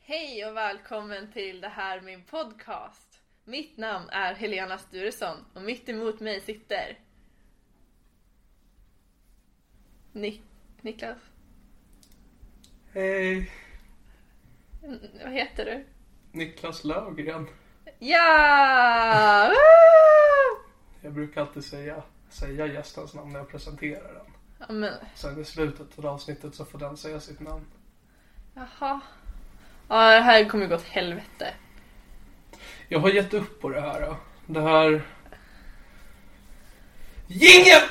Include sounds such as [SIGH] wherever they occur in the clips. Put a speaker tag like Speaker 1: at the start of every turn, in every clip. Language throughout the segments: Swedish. Speaker 1: Hej och välkommen till det här min podcast. Mitt namn är Helena Sturesson och mitt emot mig sitter Ni- Niklas.
Speaker 2: Hej!
Speaker 1: N- vad heter du?
Speaker 2: Niklas Löfgren.
Speaker 1: Ja! Woo!
Speaker 2: Jag brukar alltid säga, säga gästens namn när jag presenterar den.
Speaker 1: Ja, men,
Speaker 2: Sen i slutet av avsnittet så får den säga sitt namn.
Speaker 1: jaha. Ja, det här kommer gå åt helvete.
Speaker 2: Jag har gett upp på det här. Då. Det här... Jingel!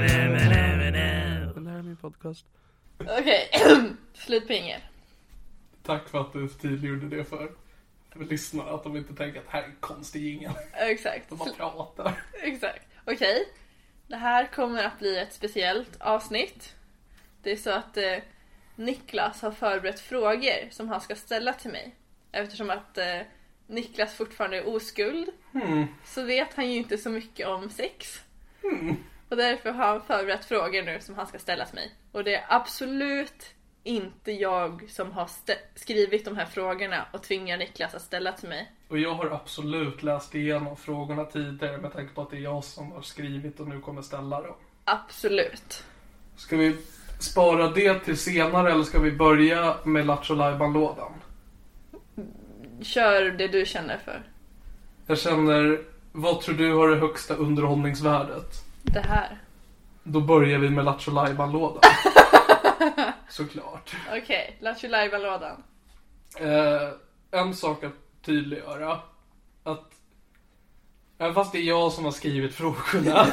Speaker 2: Det här är min podcast.
Speaker 1: Okej, [CLEARS THROAT] slut på jingel.
Speaker 2: Tack för att du tydliggjorde det för, för lyssnarna. Att de inte tänker att här är en konstig jingel.
Speaker 1: Exakt.
Speaker 2: De bara pratar.
Speaker 1: Exakt. Okej. Det här kommer att bli ett speciellt avsnitt. Det är så att eh, Niklas har förberett frågor som han ska ställa till mig. Eftersom att eh, Niklas fortfarande är oskuld så vet han ju inte så mycket om sex. Och därför har han förberett frågor nu som han ska ställa till mig. Och det är absolut inte jag som har stä- skrivit de här frågorna och tvingar Niklas att ställa till mig.
Speaker 2: Och jag har absolut läst igenom frågorna tidigare med tanke på att det är jag som har skrivit och nu kommer ställa dem.
Speaker 1: Absolut.
Speaker 2: Ska vi spara det till senare eller ska vi börja med Lattjo Lajban-lådan?
Speaker 1: Kör det du känner för.
Speaker 2: Jag känner, vad tror du har det högsta underhållningsvärdet?
Speaker 1: Det här.
Speaker 2: Då börjar vi med Lattjo Lajban-lådan. Såklart.
Speaker 1: Okej, Lattjo Lajban-lådan.
Speaker 2: Eh, en sak att tydliggöra. Att även fast det är jag som har skrivit frågorna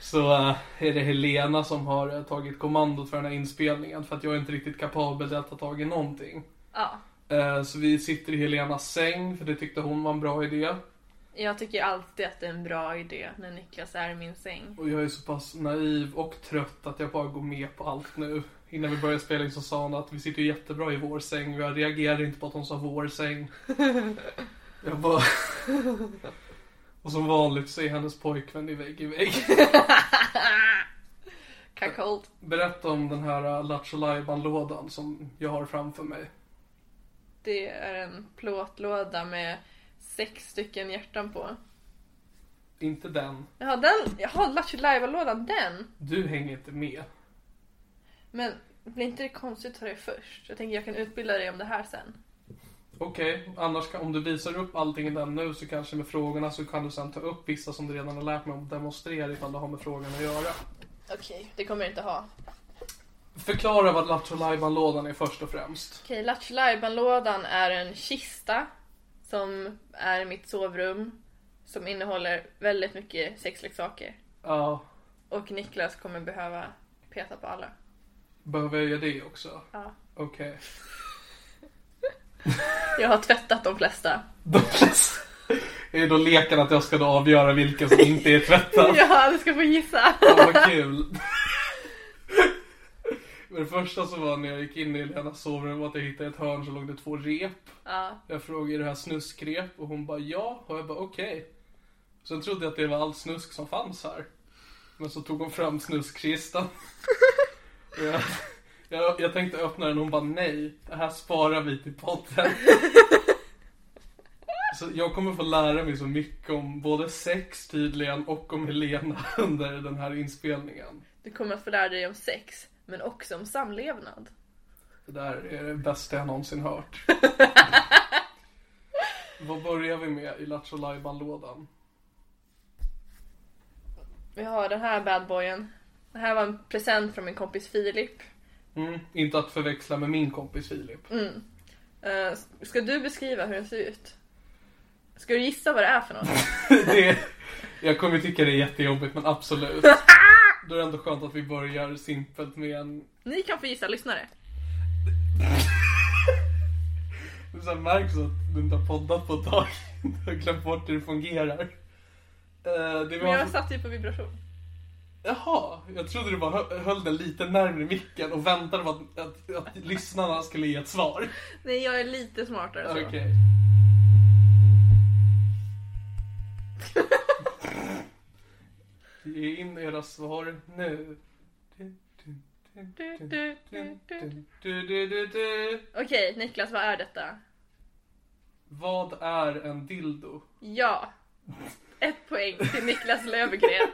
Speaker 2: så eh, är det Helena som har eh, tagit kommandot för den här inspelningen för att jag är inte riktigt kapabel till att ta tag i någonting.
Speaker 1: Ja,
Speaker 2: Eh, så vi sitter i Helenas säng för det tyckte hon var en bra idé.
Speaker 1: jag tycker alltid att det är en bra idé när Niklas är i min säng.
Speaker 2: Och jag är så pass naiv och trött att jag bara går med på allt nu. Innan vi började spela in så sa hon att vi sitter ju jättebra i vår säng. Jag reagerade inte på att hon sa vår säng. Jag bara... Och som vanligt så är hennes pojkvän i vägg i vägg.
Speaker 1: Cuckold.
Speaker 2: Berätta om den här äh, Lattjo lådan som jag har framför mig.
Speaker 1: Det är en plåtlåda med sex stycken hjärtan på.
Speaker 2: Inte den.
Speaker 1: Jaha, den, jaha Lattjo Lajban-lådan, den?
Speaker 2: Du hänger inte med.
Speaker 1: Men blir inte det konstigt att ta det först? Jag tänker jag kan utbilda dig om det här sen.
Speaker 2: Okej, annars kan, om du visar upp allting i den nu så kanske med frågorna så kan du sen ta upp vissa som du redan har lärt mig om och demonstrera ifall det har med frågan att göra.
Speaker 1: Okej, det kommer jag inte ha.
Speaker 2: Förklara vad Lattjo Lajban-lådan är först och främst.
Speaker 1: Okej, Lattjo lådan är en kista som är mitt sovrum som innehåller väldigt mycket sexleksaker.
Speaker 2: Ja,
Speaker 1: Och Niklas kommer behöva peta på alla.
Speaker 2: behöver jag göra det också?
Speaker 1: Ja.
Speaker 2: Okej.
Speaker 1: Jag har tvättat de flesta. [LAUGHS]
Speaker 2: De flesta... [LAUGHS] Är då leken att jag ska då avgöra vilken som inte är tvättad?
Speaker 1: [LAUGHS] Ja, du ska få gissa.
Speaker 2: Fan vad kul! [LAUGHS] Men det första som var när jag gick in i Lenas sovrum var att jag hittade ett hörn så låg det två rep.
Speaker 1: Ja.
Speaker 2: Jag frågade är det här snuskrep och hon bara ja och jag bara okej. Sen trodde jag att det var all snusk som fanns här. Men så tog hon fram snuskkistan. Och jag, jag, jag tänkte öppna den och hon bara nej, det här sparar vi till podden. Så jag kommer få lära mig så mycket om både sex tydligen och om Helena [LAUGHS] under den här inspelningen.
Speaker 1: Du kommer att få lära dig om sex, men också om samlevnad.
Speaker 2: Det där är det bästa jag
Speaker 1: [LAUGHS]
Speaker 2: någonsin hört. Vad börjar vi med i Lattjo lådan
Speaker 1: Vi har den här badboyen. Det här var en present från min kompis Filip.
Speaker 2: Mm, inte att förväxla med min kompis Filip.
Speaker 1: Mm. Eh, Ska du beskriva hur den ser ut? Ska du gissa vad det är för något?
Speaker 2: [LAUGHS] Det, jag kommer tycka det är jättejobbigt,
Speaker 1: [LAUGHS]
Speaker 2: men absolut. Då är det ändå skönt att vi börjar simpelt med en...
Speaker 1: Ni kan få gissa, lyssnare.
Speaker 2: Det så här märks att du inte har poddat på ett tag. [LAUGHS] Du har glömt bort hur det fungerar. Eh, det
Speaker 1: Men
Speaker 2: var...
Speaker 1: jag satt ju på vibration.
Speaker 2: Jaha, jag trodde du bara hö- höll den lite närmre micken och väntade på att, att, att lyssnarna skulle ge ett svar.
Speaker 1: Nej, jag är lite smartare än så.
Speaker 2: Okej. Ge in era svar nu.
Speaker 1: Du, du, du, du.
Speaker 2: Du, du, du, du.
Speaker 1: Okej, Niklas, vad är detta?
Speaker 2: Vad är en dildo?
Speaker 1: Ja! Ett poäng till Niklas Löfgren.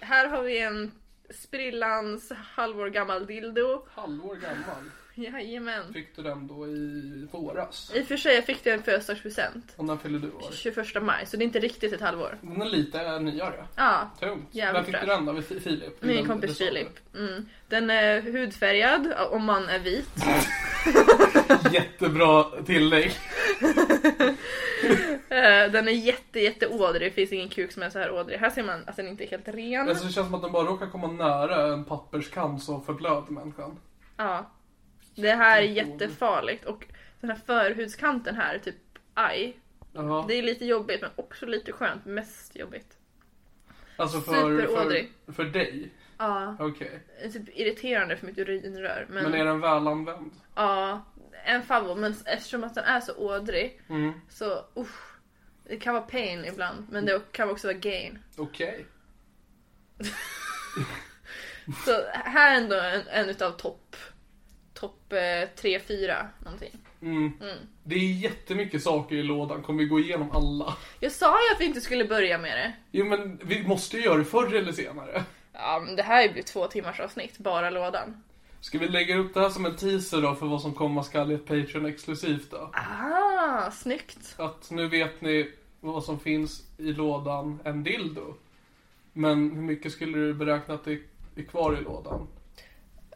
Speaker 1: Här har vi en sprillans halvår gammal dildo.
Speaker 2: Halvår gammal.
Speaker 1: Jajamän.
Speaker 2: Fick du den då i våras?
Speaker 1: I och för sig fick jag en födelsedagspresent.
Speaker 2: Och när fyllde du år?
Speaker 1: 21 maj, så det är inte riktigt ett halvår.
Speaker 2: Den är lite nyare.
Speaker 1: Ja,
Speaker 2: Tungt.
Speaker 1: Jävligt
Speaker 2: Där fick du
Speaker 1: fräsch.
Speaker 2: den av Fi- Filip. I
Speaker 1: min
Speaker 2: den-
Speaker 1: kompis
Speaker 2: det sa du.
Speaker 1: Filip. Mm. Den är hudfärgad om man är vit.
Speaker 2: Jättebra tillägg.
Speaker 1: Eh, Den är jätte, jätte ådrig. Det finns ingen kuk som är så här ådrig. Här ser man att den inte är helt ren.
Speaker 2: Alltså, det känns som att den bara råkar komma nära en papperskam så förblöder människan.
Speaker 1: Ja. Det här är jättefarligt. Och den här förhudskanten här, typ aj.
Speaker 2: Jaha.
Speaker 1: Det är lite jobbigt men också lite skönt. Mest jobbigt.
Speaker 2: Alltså för,
Speaker 1: superådrig.
Speaker 2: för, för dig?
Speaker 1: Ja.
Speaker 2: Okej.
Speaker 1: Det är typ irriterande för mitt urinrör. Men,
Speaker 2: Men är den väl använd?
Speaker 1: ja, en favorit. Men eftersom att den är så ådrig
Speaker 2: Mm.
Speaker 1: så usch. Det kan vara pain ibland men det kan också vara gain.
Speaker 2: Okej.
Speaker 1: Så här är ändå en, en utav topp topp eh, tre fyra någonting.
Speaker 2: Mm. Det är jättemycket saker i lådan. Kommer vi gå igenom alla?
Speaker 1: Jag sa ju att vi inte skulle börja med det.
Speaker 2: Jo men vi måste ju göra det förr eller senare.
Speaker 1: Ja, men det här blir två timmars avsnitt, bara lådan.
Speaker 2: Ska vi lägga upp det här som en teaser då för vad som komma skall i ett Patreon exklusivt då?
Speaker 1: Ah, snyggt.
Speaker 2: Att nu vet ni vad som finns i lådan, en dildo. Men hur mycket skulle du beräkna att det är kvar i lådan?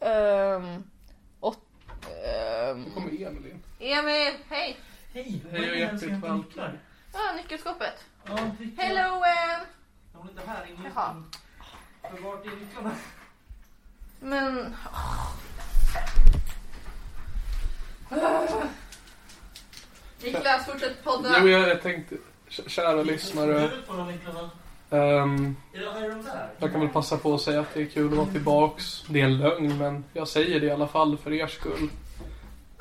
Speaker 1: Um, åt, ehm,
Speaker 2: Kommer Emil
Speaker 1: Emil, hej!
Speaker 3: Hej!
Speaker 2: Hej och hjärtligt välkomna.
Speaker 1: Ah, nyckelskåpet.
Speaker 3: Ja, nycklar.
Speaker 1: Hello Em!
Speaker 3: Hon är inte här inne just
Speaker 1: Jaha.
Speaker 3: nu. För vart är nycklarna?
Speaker 1: Men... Ah. Niklas, fortsätt
Speaker 2: Jo,
Speaker 1: podda.
Speaker 2: jag, jag tänkte, k- kära lyssnare.
Speaker 3: Är det på de nycklarna?
Speaker 2: ehm,
Speaker 3: Är det- Är de där?
Speaker 2: jag kan väl passa på att säga att det är kul att vara tillbaks. Det är en lögn, men jag säger det i alla fall för er skull.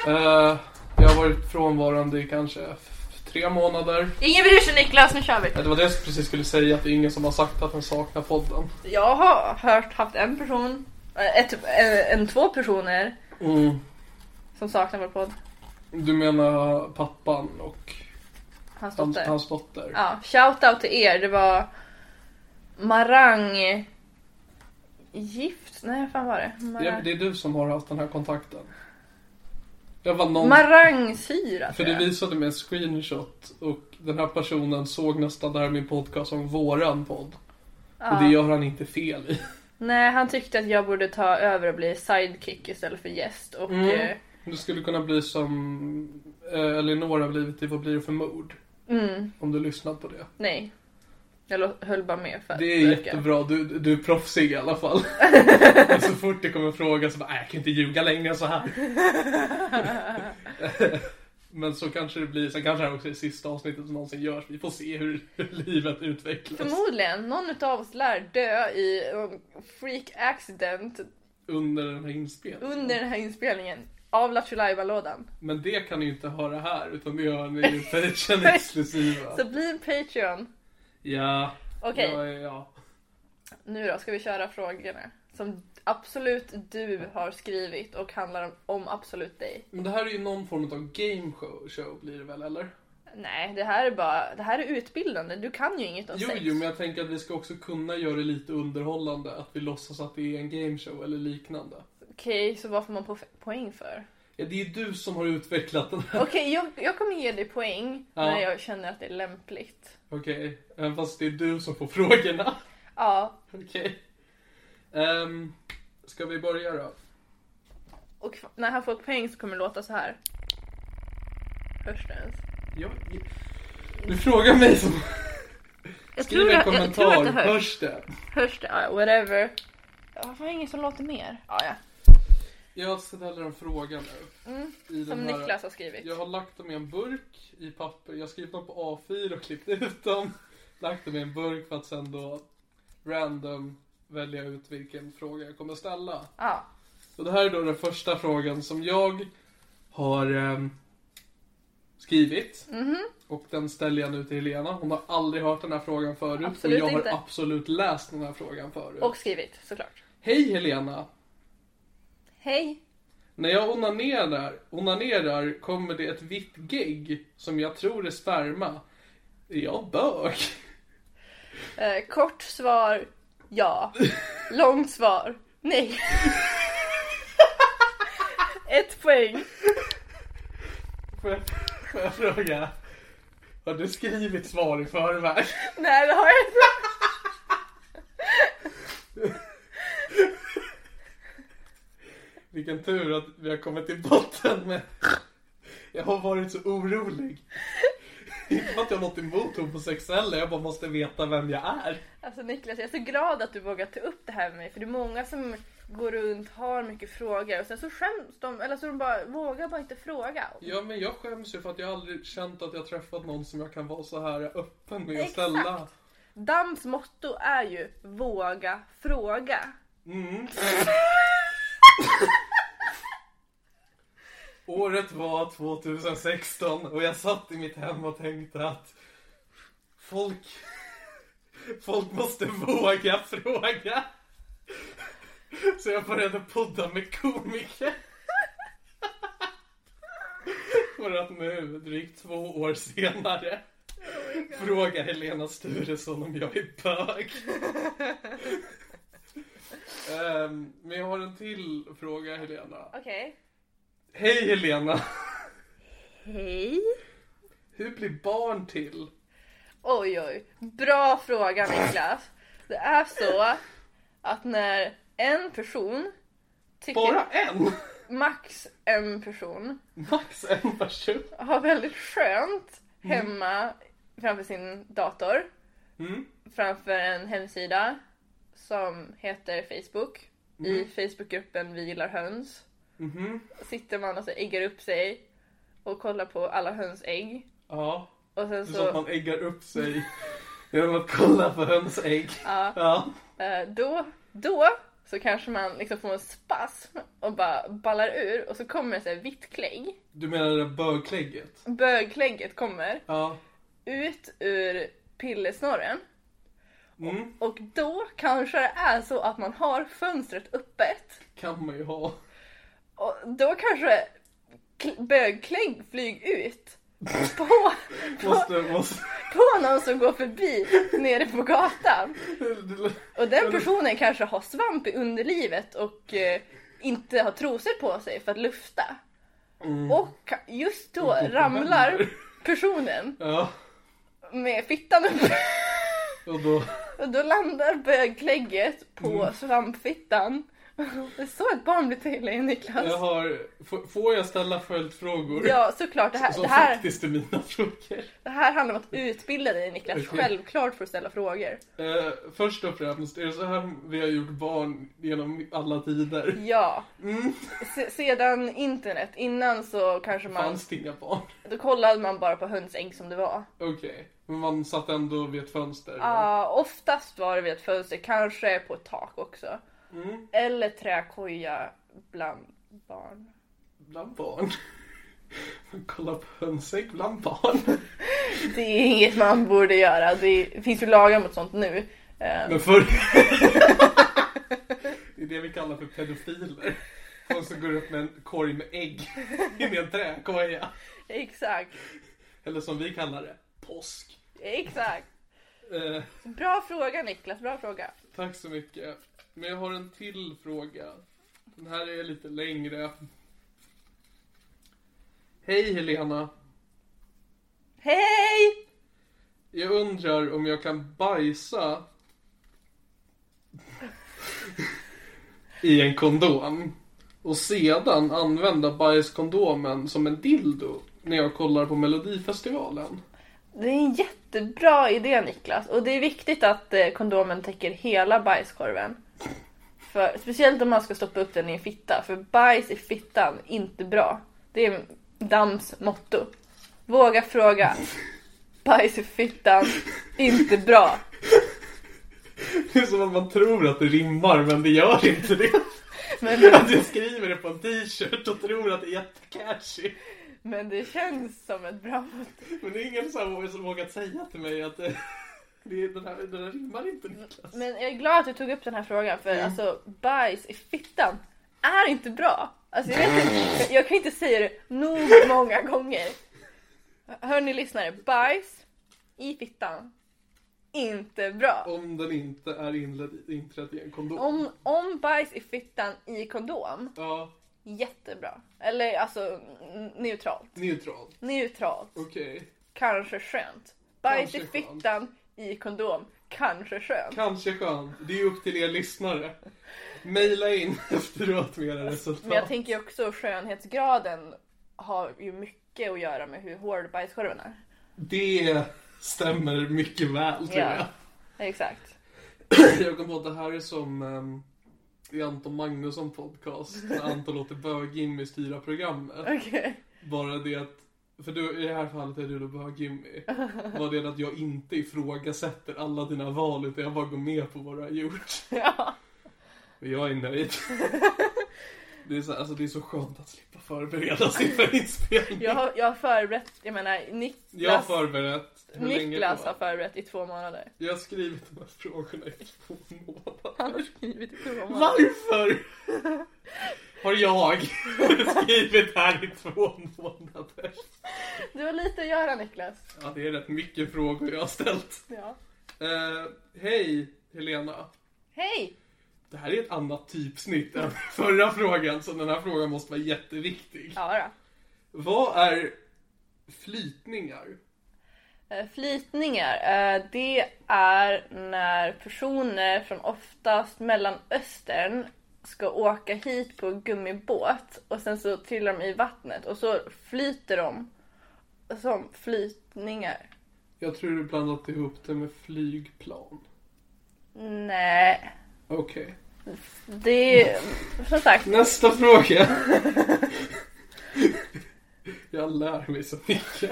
Speaker 2: Eh, jag har varit frånvarande i kanske f- tre månader.
Speaker 1: Ingen bryr sig Niklas, nu kör vi.
Speaker 2: Eh, Det var det jag precis skulle säga, att det är ingen som har sagt att den saknar podden.
Speaker 1: Jag har hört, haft en person, eh, ett, eh, en, två personer som saknar vår podd.
Speaker 2: Du menar pappan och
Speaker 1: Hans
Speaker 2: hans,
Speaker 1: dotter.
Speaker 2: hans dotter?
Speaker 1: Ja, shoutout till er. Det var Marang... Gift? Nej, vad fan var det?
Speaker 2: Det,
Speaker 1: Marang...
Speaker 2: det är du som har haft den här kontakten. Jag var någon...
Speaker 1: Marangsyra
Speaker 2: För
Speaker 1: tror
Speaker 2: det
Speaker 1: jag.
Speaker 2: visade mig en screenshot och den här personen såg nästan det här min podcast som våran podd. Och det gör han inte fel i.
Speaker 1: Nej, han tyckte att jag borde ta över och bli sidekick istället för gäst. Och
Speaker 2: Mm.
Speaker 1: eh,
Speaker 2: Du skulle kunna bli som eh, Elinor har blivit i Vad blir det för mord?
Speaker 1: mm,
Speaker 2: Om du lyssnat på det.
Speaker 1: nej. Jag lå- höll bara med för att
Speaker 2: Det är
Speaker 1: verka-
Speaker 2: jättebra, du, du är proffsig i
Speaker 1: [LAUGHS]
Speaker 2: alla fall. Men så fort det kommer en fråga så bara, "Äh, jag kan inte ljuga längre än så här. Men så kanske det blir, sen kanske det här också är sista avsnittet som någonsin görs. Vi får se hur, hur livet utvecklas.
Speaker 1: [LAUGHS] Förmodligen, någon utav oss lär dö i um, freak accident
Speaker 2: Under den här inspelningen.
Speaker 1: under den här inspelningen av Lattjo lådan
Speaker 2: Men det kan ni ju inte höra här, utan det hör ni ju på
Speaker 1: [LAUGHS]
Speaker 2: Patreon exklusiva.
Speaker 1: Så bli en Patreon.
Speaker 2: Ja,
Speaker 1: Okej,
Speaker 2: jag är- ja.
Speaker 1: nu då ska vi köra frågorna. Som absolut du har skrivit och handlar om, om absolut dig.
Speaker 2: Men det här är ju någon form av game show, show blir det väl, eller?
Speaker 1: Nej, det här är bara, det här är utbildande. Du kan ju inget om
Speaker 2: Jo,
Speaker 1: sex.
Speaker 2: jo, men jag tänker att vi ska också kunna göra det lite underhållande. Att vi låtsas att det är en gameshow eller liknande.
Speaker 1: Okej, så vad får man po- poäng för?
Speaker 2: Ja, det är ju du som har utvecklat den här. [LAUGHS]
Speaker 1: Okej, jag, jag kommer ge dig poäng
Speaker 2: Ja.
Speaker 1: när jag känner att det är lämpligt.
Speaker 2: Okej, okay. fast det är du som får [LAUGHS] frågorna.
Speaker 1: Ja,
Speaker 2: Okej. Ehm, ska vi börja då?
Speaker 1: och f- när han får poäng så kommer det låta så här. Hörs det ens?
Speaker 2: Jag... Du frågar mig som...
Speaker 1: Jag
Speaker 2: Skriv en kommentar.
Speaker 1: jag tror att det hörs. Hörs,
Speaker 2: hörs det?
Speaker 1: det? Ja, whatever. Ja, Varför har ingen som låter mer? Ja, ja.
Speaker 2: Jag ställer en fråga nu.
Speaker 1: Mm,
Speaker 2: I
Speaker 1: Som Niklas har skrivit.
Speaker 2: Jag har lagt dem i en burk i papper. Jag har skrivit dem på A4 och klippt ut dem. Lagt dem i en burk för att sen då random välja ut vilken fråga jag kommer ställa.
Speaker 1: Ja.
Speaker 2: Och det här är då den första frågan som jag har ehm, skrivit.
Speaker 1: Mhm.
Speaker 2: Och den ställer jag nu till Helena. Hon har aldrig hört den här frågan förut.
Speaker 1: Absolut
Speaker 2: och jag
Speaker 1: inte.
Speaker 2: har absolut läst den här frågan förut.
Speaker 1: Och skrivit, såklart.
Speaker 2: Hej Helena!
Speaker 1: Hej.
Speaker 2: När jag onanerar, onanerar kommer det ett vitt gegg som jag tror är sperma. Är jag bög?
Speaker 1: Eh, kort svar,
Speaker 2: [LAUGHS]
Speaker 1: ja. Långt svar, nej. [LAUGHS] Ett poäng.
Speaker 2: [LAUGHS] Får jag, får jag fråga? Har du skrivit svar i förväg?
Speaker 1: Nej, det har jag inte.
Speaker 2: [LAUGHS] Vilken tur att vi har kommit till botten med... [LAUGHS] Jag har varit så orolig. [LAUGHS] Inte för att jag har något emot homosexuella, jag bara måste veta vem jag är.
Speaker 1: Alltså Niklas, jag är så glad att du vågar ta upp det här med mig. För det är många som går runt, har mycket frågor och sen så skäms de. Eller så de bara, vågar bara inte fråga.
Speaker 2: Ja, men jag skäms ju för att jag aldrig känt att jag träffat någon som jag kan vara så här öppen med att ställa.
Speaker 1: Exakt. Dams motto är ju våga fråga.
Speaker 2: Året var 2016 och jag satt i mitt hem och tänkte att folk, folk måste våga fråga. Så jag började podda med komiker. För att nu, drygt två år senare, frågar Helena Sturesson om jag är bög. Ehm, men jag har en till fråga Helena.
Speaker 1: Okej.
Speaker 2: Hej Helena!
Speaker 1: Hej.
Speaker 2: Hur blir barn till?
Speaker 1: Oj oj. Bra fråga Niklas. Det är så att när en person tycker
Speaker 2: Bara en? [LAUGHS]
Speaker 1: max en person
Speaker 2: Max en person?
Speaker 1: har väldigt skönt hemma framför sin dator.
Speaker 2: Mm.
Speaker 1: Framför en hemsida som heter Facebook. I
Speaker 2: Mm.
Speaker 1: Facebookgruppen Vi gillar höns.
Speaker 2: Mhm.
Speaker 1: sitter man och så äggar upp sig och kollar på alla hönsägg.
Speaker 2: Ja,
Speaker 1: Och sen
Speaker 2: det är så
Speaker 1: så,
Speaker 2: att man äggar upp sig [LAUGHS] genom att kolla på hönsägg.
Speaker 1: ja,
Speaker 2: Ja.
Speaker 1: eh, då, då så kanske man liksom får en spasm och bara ballar ur och så kommer det så här vitt klägg.
Speaker 2: Du menar det där bögklägget?
Speaker 1: Bögklägget kommer
Speaker 2: Ja.
Speaker 1: ut ur pillesnorren
Speaker 2: Mm.
Speaker 1: och då kanske det är så att man har fönstret öppet
Speaker 2: Kan man ju ha.
Speaker 1: och då kanske kl- bögklägg flyger ut
Speaker 2: [LAUGHS]
Speaker 1: på, på,
Speaker 2: Måste, måste. [LAUGHS]
Speaker 1: på någon som går förbi nere på gatan. Och den personen kanske har svamp i underlivet och eh, inte har trosor på sig för att lufta.
Speaker 2: Mm.
Speaker 1: Och just då ramlar personen
Speaker 2: Ja.
Speaker 1: med fittan upp.
Speaker 2: Och då,
Speaker 1: Och då landar bögklägget på
Speaker 2: Mm.
Speaker 1: svampfittan. Det är så ett barn blir till i Niklas.
Speaker 2: Jag har, f- får jag ställa följdfrågor?
Speaker 1: Ja, såklart. Det här,
Speaker 2: Som
Speaker 1: det, här,
Speaker 2: faktiskt är mina frågor.
Speaker 1: det här handlar om att utbilda dig Niklas.
Speaker 2: Okej.
Speaker 1: Självklart får du ställa frågor.
Speaker 2: Eh, först och främst, är det så här vi har gjort barn genom alla tider?
Speaker 1: Ja.
Speaker 2: Mm.
Speaker 1: Se- Sedan internet, innan så kanske man...
Speaker 2: Fanns det inga barn?
Speaker 1: Då kollade man bara på hönsägg som det var.
Speaker 2: Okej, men man satt ändå vid ett fönster? va?
Speaker 1: Ja, oftast var det vid ett fönster, kanske på ett tak också.
Speaker 2: Mm.
Speaker 1: Eller träkoja bland barn.
Speaker 2: Bland barn? Man kollar på hönsäck bland barn?
Speaker 1: Det är inget man borde göra. Det finns ju lagar mot sånt nu. Eh,
Speaker 2: Men förr... [LAUGHS] det är det vi kallar för pedofiler. De som går upp med en korg med ägg in i en träkoja.
Speaker 1: Exakt,
Speaker 2: Eller som vi kallar det, påsk.
Speaker 1: exakt.
Speaker 2: Eh,
Speaker 1: Bra fråga Niklas, bra fråga.
Speaker 2: Tack så mycket. Men jag har en till fråga. Den här är lite längre. Hej Helena.
Speaker 1: Hej!
Speaker 2: Jag undrar om jag kan bajsa i en kondom och sedan använda bajskondomen som en dildo när jag kollar på Melodifestivalen.
Speaker 1: Det är en jättebra idé Niklas och det är viktigt att eh, kondomen täcker hela bajskorven. För, speciellt om man ska stoppa upp den i en fitta för bajs i fittan, inte bra. Det är Dams motto. Våga fråga. Bajs i fittan, inte bra.
Speaker 2: Det är som att man tror att det rimmar men det gör inte det.
Speaker 1: Men,
Speaker 2: Att jag skriver det på en t-shirt och tror att det är jättecatchy.
Speaker 1: men det känns som ett bra motto.
Speaker 2: Men det är ingen som har som vågat säga till mig att eh, det, är- den, här, den här rimmar inte Niklas.
Speaker 1: Men jag är glad att du tog upp den här frågan
Speaker 2: Mm.
Speaker 1: för alltså bajs i fittan är inte bra. Alltså jag, vet
Speaker 2: Mm.
Speaker 1: inte, jag kan inte säga det nog många gånger. Hör ni lyssnare, bajs i fittan. Inte bra.
Speaker 2: Om den inte är inledd, inträdd i en kondom.
Speaker 1: Om, om bajs i fittan i kondom,
Speaker 2: Ja,
Speaker 1: jättebra. Eller alltså n- neutralt.
Speaker 2: neutral.
Speaker 1: Neutralt,
Speaker 2: Okej.
Speaker 1: kanske skönt. Bajs i
Speaker 2: Kanske skönt.
Speaker 1: fittan i kondom, kanske skönt.
Speaker 2: Kanske skönt. Det är upp till er lyssnare. Maila in [LAUGHS] efteråt med era
Speaker 1: Men jag
Speaker 2: resultat.
Speaker 1: tänker ju också skönhetsgraden har ju mycket att göra med hur hård bajskorven är.
Speaker 2: Det stämmer mycket väl tror
Speaker 1: Ja. Exakt.
Speaker 2: jag. Jag kom på att det här är som ehm, i Anton Magnusson podcast. när Anton låter bög-Jimmy styra programmet.
Speaker 1: Okej.
Speaker 2: Bara det att, för du, i det här fallet är du då bara Jimmy. Var det att jag inte ifrågasätter alla dina val utan jag bara går med på vad du har gjort.
Speaker 1: Ja.
Speaker 2: Och jag är nöjd. Det är så, alltså det är så skönt att slippa förbereda sig
Speaker 1: [LAUGHS]
Speaker 2: för inspelning.
Speaker 1: Jag, har, jag har förberett, jag menar
Speaker 2: Jag har
Speaker 1: Niklas,
Speaker 2: förberett. Hur länge
Speaker 1: Niklas
Speaker 2: då?
Speaker 1: har förberett i två månader.
Speaker 2: Jag har skrivit de här frågorna i två
Speaker 1: Han har
Speaker 2: månader.
Speaker 1: skrivit i två månader.
Speaker 2: Varför [LAUGHS] har jag skrivit här i två månader?
Speaker 1: Du har lite att göra Niklas.
Speaker 2: Ja, det är rätt mycket frågor jag har ställt.
Speaker 1: Ja.
Speaker 2: Eh, Hej Helena.
Speaker 1: Hej!
Speaker 2: Det här är ett annat typsnitt än förra frågan, så den här frågan måste vara jätteviktig.
Speaker 1: Ja,
Speaker 2: Vad är flytningar?
Speaker 1: då. Eh, Flytningar, eh, det är när personer från oftast Mellanöstern ska åka hit på gummibåt och sen så trillar de i vattnet och så flyter de som flytningar.
Speaker 2: Jag tror du blandat ihop det med flygplan.
Speaker 1: Nej,
Speaker 2: Okej.
Speaker 1: det är som sagt,
Speaker 2: Nästa fråga. [LAUGHS] Jag lär mig så mycket.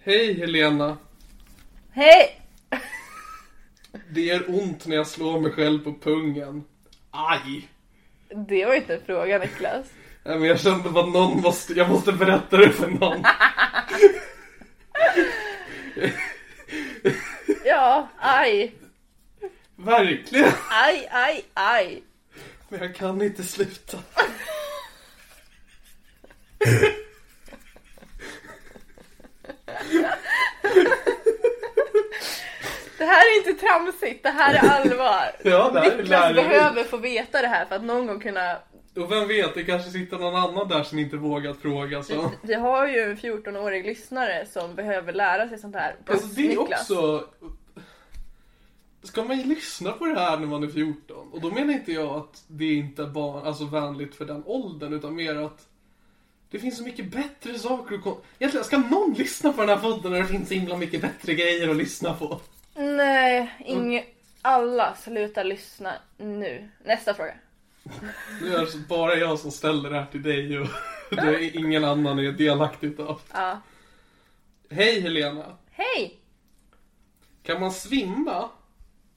Speaker 2: Hej Helena.
Speaker 1: hej!
Speaker 2: Det gör ont när jag slår mig själv på pungen. Aj!
Speaker 1: Det var inte en fråga Niklas.
Speaker 2: Nej, men jag kände att någon måste, jag måste berätta det för någon.
Speaker 1: Ja, aj,
Speaker 2: Verkligen.
Speaker 1: aj, aj, aj.
Speaker 2: Men jag kan inte sluta.
Speaker 1: Det här är inte tramsigt, det här är allvar.
Speaker 2: Ja, det här är
Speaker 1: Niklas
Speaker 2: lärorikt.
Speaker 1: behöver få veta det här för att någon gång kunna
Speaker 2: Och vem vet, det kanske sitter någon annan där som inte vågat fråga. Så.
Speaker 1: Vi har ju en 14-årig lyssnare som behöver lära sig sånt här. Plus
Speaker 2: Alltså det är
Speaker 1: Niklas.
Speaker 2: också... Ska man ju lyssna på det här när man är 14? Och då menar inte jag att det inte är barn, alltså vänligt för den åldern, utan mer att det finns så mycket bättre saker att... kon- Egentligen, ska någon lyssna på den här podden när det finns så himla mycket bättre grejer att lyssna på?
Speaker 1: Nej, ing... alla sluta lyssna nu. Nästa fråga.
Speaker 2: Nu är det alltså bara jag som ställer det här till dig och [LAUGHS] det är ingen annan är delaktig utav.
Speaker 1: Ja.
Speaker 2: Hej Helena!
Speaker 1: Hej!
Speaker 2: Kan man svimma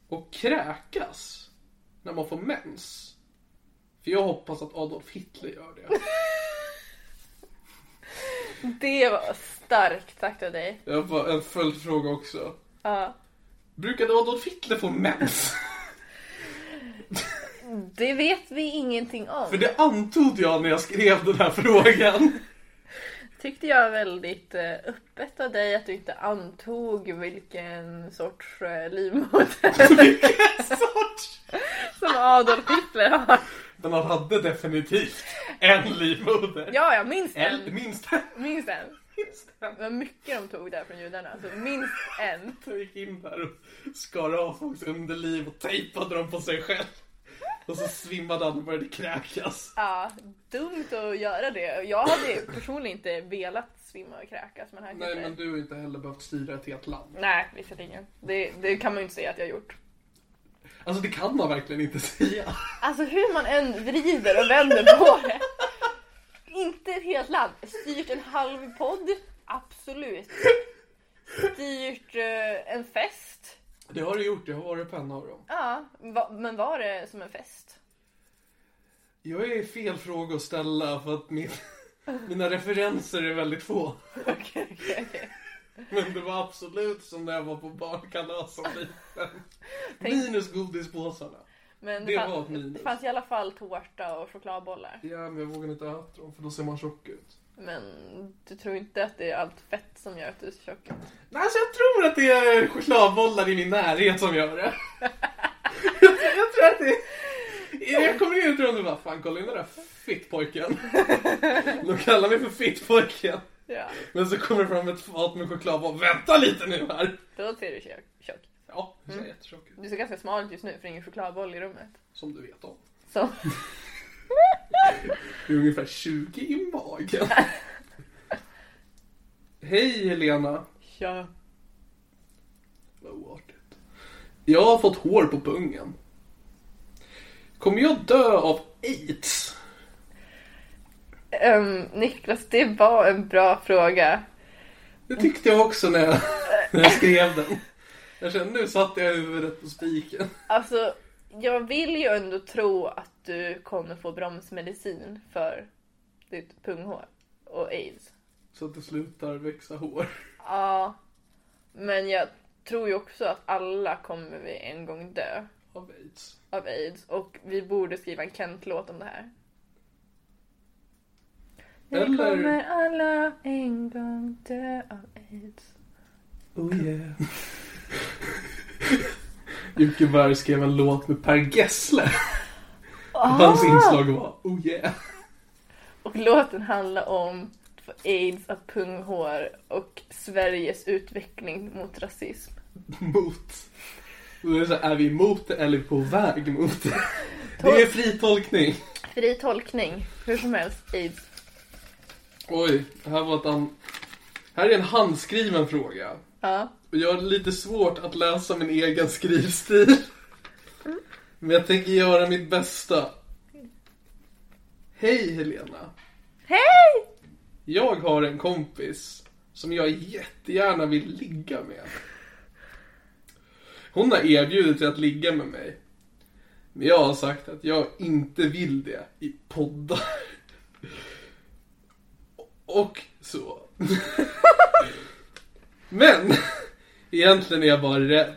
Speaker 2: och kräkas när man får mens? För jag hoppas att Adolf Hitler gör det.
Speaker 1: Det var starkt sagt av dig.
Speaker 2: Jag har en följdfråga också.
Speaker 1: Ja.
Speaker 2: Brukade Adolf Hitler få mens? [LAUGHS]
Speaker 1: Det vet vi ingenting om.
Speaker 2: För det antog jag när jag skrev den här frågan.
Speaker 1: Tyckte jag väldigt eh, öppet av dig att du inte antog vilken sorts eh, livmoder
Speaker 2: [LAUGHS] Vilken sorts!
Speaker 1: [LAUGHS] som Adolf Hitler har.
Speaker 2: Men han hade definitivt en livmoder.
Speaker 1: Ja, jag minns
Speaker 2: Eller
Speaker 1: den.
Speaker 2: minst en.
Speaker 1: Minns den.
Speaker 2: Minst en.
Speaker 1: Det var mycket de tog där från judarna. Alltså, minst en.
Speaker 2: Jag gick in där och skar av folks underliv och tejpade dem på sig själv. Och så svimmade han och började kräkas.
Speaker 1: Ja, dumt att göra det. Jag hade personligen inte velat svimma och kräkas. Men här kan
Speaker 2: Nej
Speaker 1: jag
Speaker 2: men
Speaker 1: säga.
Speaker 2: du har inte heller behövt styra ett helt land.
Speaker 1: Nej, visst ingen. Det, det kan man ju inte säga att jag gjort.
Speaker 2: Alltså det kan man verkligen inte säga.
Speaker 1: Alltså hur man än vrider och vänder på det. Inte ett helt land. Styrt en halv podd? Absolut. Styrt eh, en fest?
Speaker 2: Det har du gjort, jag har varit på en av dem.
Speaker 1: Ja, va, men var det som en fest?
Speaker 2: Jag är fel fråga att ställa för att [LAUGHS] min, mina referenser är väldigt få.
Speaker 1: Okej, okej, okej.
Speaker 2: Men det var absolut som när jag var på barnkalas som liten. Minus godispåsarna.
Speaker 1: Men
Speaker 2: Det
Speaker 1: fan-
Speaker 2: var ett minus.
Speaker 1: det fanns i alla fall tårta och chokladbollar.
Speaker 2: Ja men jag vågar inte äta dem för då ser man tjock ut.
Speaker 1: Men du tror inte att det är allt fett som gör att du är så tjock?
Speaker 2: Nej alltså jag tror att det är chokladbollar i min närhet som gör det. jag, tror, jag tror att det är... Jag kommer in i ett rum och bara fan kolla in den där fittpojken. De kallar mig för fittpojken.
Speaker 1: Ja,
Speaker 2: Men så kommer det fram ett fat med choklad och bara, vänta lite nu här.
Speaker 1: då ser du tjock- tjock.
Speaker 2: Ja, jag ser jättetjock ut.
Speaker 1: Du ser ganska smal ut just nu för det är ingen chokladboll i rummet.
Speaker 2: Som du vet om.
Speaker 1: Så.
Speaker 2: Det är ungefär 20 i magen. Hej Helena.
Speaker 1: Ja.
Speaker 2: Vad oartigt. Jag har fått hår på pungen. Kommer jag dö av aids?
Speaker 1: Ehm, Niklas, det var en bra fråga.
Speaker 2: Det tyckte jag också när jag, [LAUGHS] när jag skrev den. Jag kände nu satte jag huvudet på spiken.
Speaker 1: Alltså, jag vill ju ändå tro att du kommer få bromsmedicin för ditt punghår och aids.
Speaker 2: Så att det slutar växa hår.
Speaker 1: Ja, men jag tror ju också att alla kommer vi en gång dö
Speaker 2: Av aids.
Speaker 1: av aids och vi borde skriva en Kent-låt om det här. Vi
Speaker 2: Eller-
Speaker 1: kommer alla en gång dö av aids.
Speaker 2: Oh yeah. [LAUGHS] Jocke Berg skrev en låt med Per Gessle. Hans inslag var Oh yeah.
Speaker 1: Och låten handlar om att få aids av punghår och Sveriges utveckling mot rasism.
Speaker 2: Mot. Och det är, så här, är vi emot det eller på väg mot det? Det är fri tolkning.
Speaker 1: Fri tolkning, hur som helst, aids.
Speaker 2: Oj, här var ett an... Här är en handskriven fråga.
Speaker 1: Ja.
Speaker 2: Och jag har lite svårt att läsa min egen skrivstil. Men jag tänker göra mitt bästa. Hej Helena.
Speaker 1: Hej!
Speaker 2: Jag har en kompis som jag jättegärna vill ligga med. Hon har erbjudit sig att ligga med mig. Men jag har sagt att jag inte vill det i poddar. Och så. Men egentligen är jag bara rädd.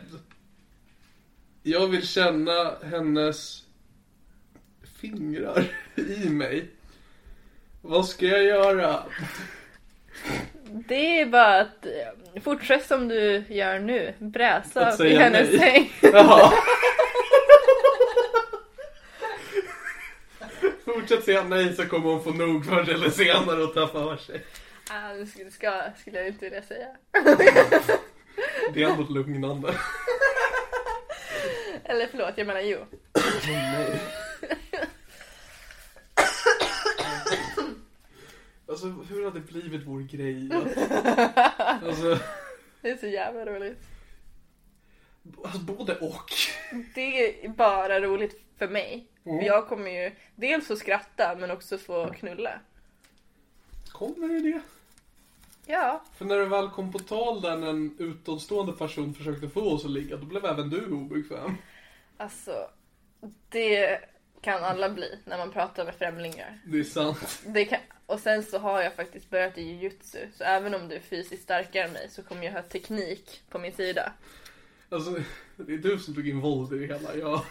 Speaker 2: Jag vill känna hennes fingrar i mig. Vad ska jag göra?
Speaker 1: Det är bara att eh, fortsätt som du gör nu,
Speaker 2: Att
Speaker 1: bräsa i
Speaker 2: säga
Speaker 1: hennes
Speaker 2: nej.
Speaker 1: säng.
Speaker 2: Jaha. Fortsätt fortsätter säga nej så kommer hon få nog förr eller senare och ta för sig.
Speaker 1: Ah, det skulle, ska, skulle jag inte vilja säga.
Speaker 2: Det är ändå lugnande.
Speaker 1: [LAUGHS] Eller förlåt, jag menar jo.
Speaker 2: Nej. Alltså hur hade det blivit vår grej? Alltså,
Speaker 1: Det är så jävla roligt.
Speaker 2: alltså både och.
Speaker 1: Det är bara roligt för mig. För Jag kommer ju dels få skratta men också få knulla.
Speaker 2: Kommer det det?
Speaker 1: Ja,
Speaker 2: För när du väl kom på tal där när en utomstående person försökte få oss att ligga, då blev även du obekväm.
Speaker 1: alltså. Det kan alla bli när man pratar med främlingar.
Speaker 2: Det är sant.
Speaker 1: Det kan, och sen så har jag faktiskt börjat i jujutsu. Så även om du är fysiskt starkare än mig så kommer jag ha teknik på min sida.
Speaker 2: Alltså, det är du som tog in våld i det hela. Jag,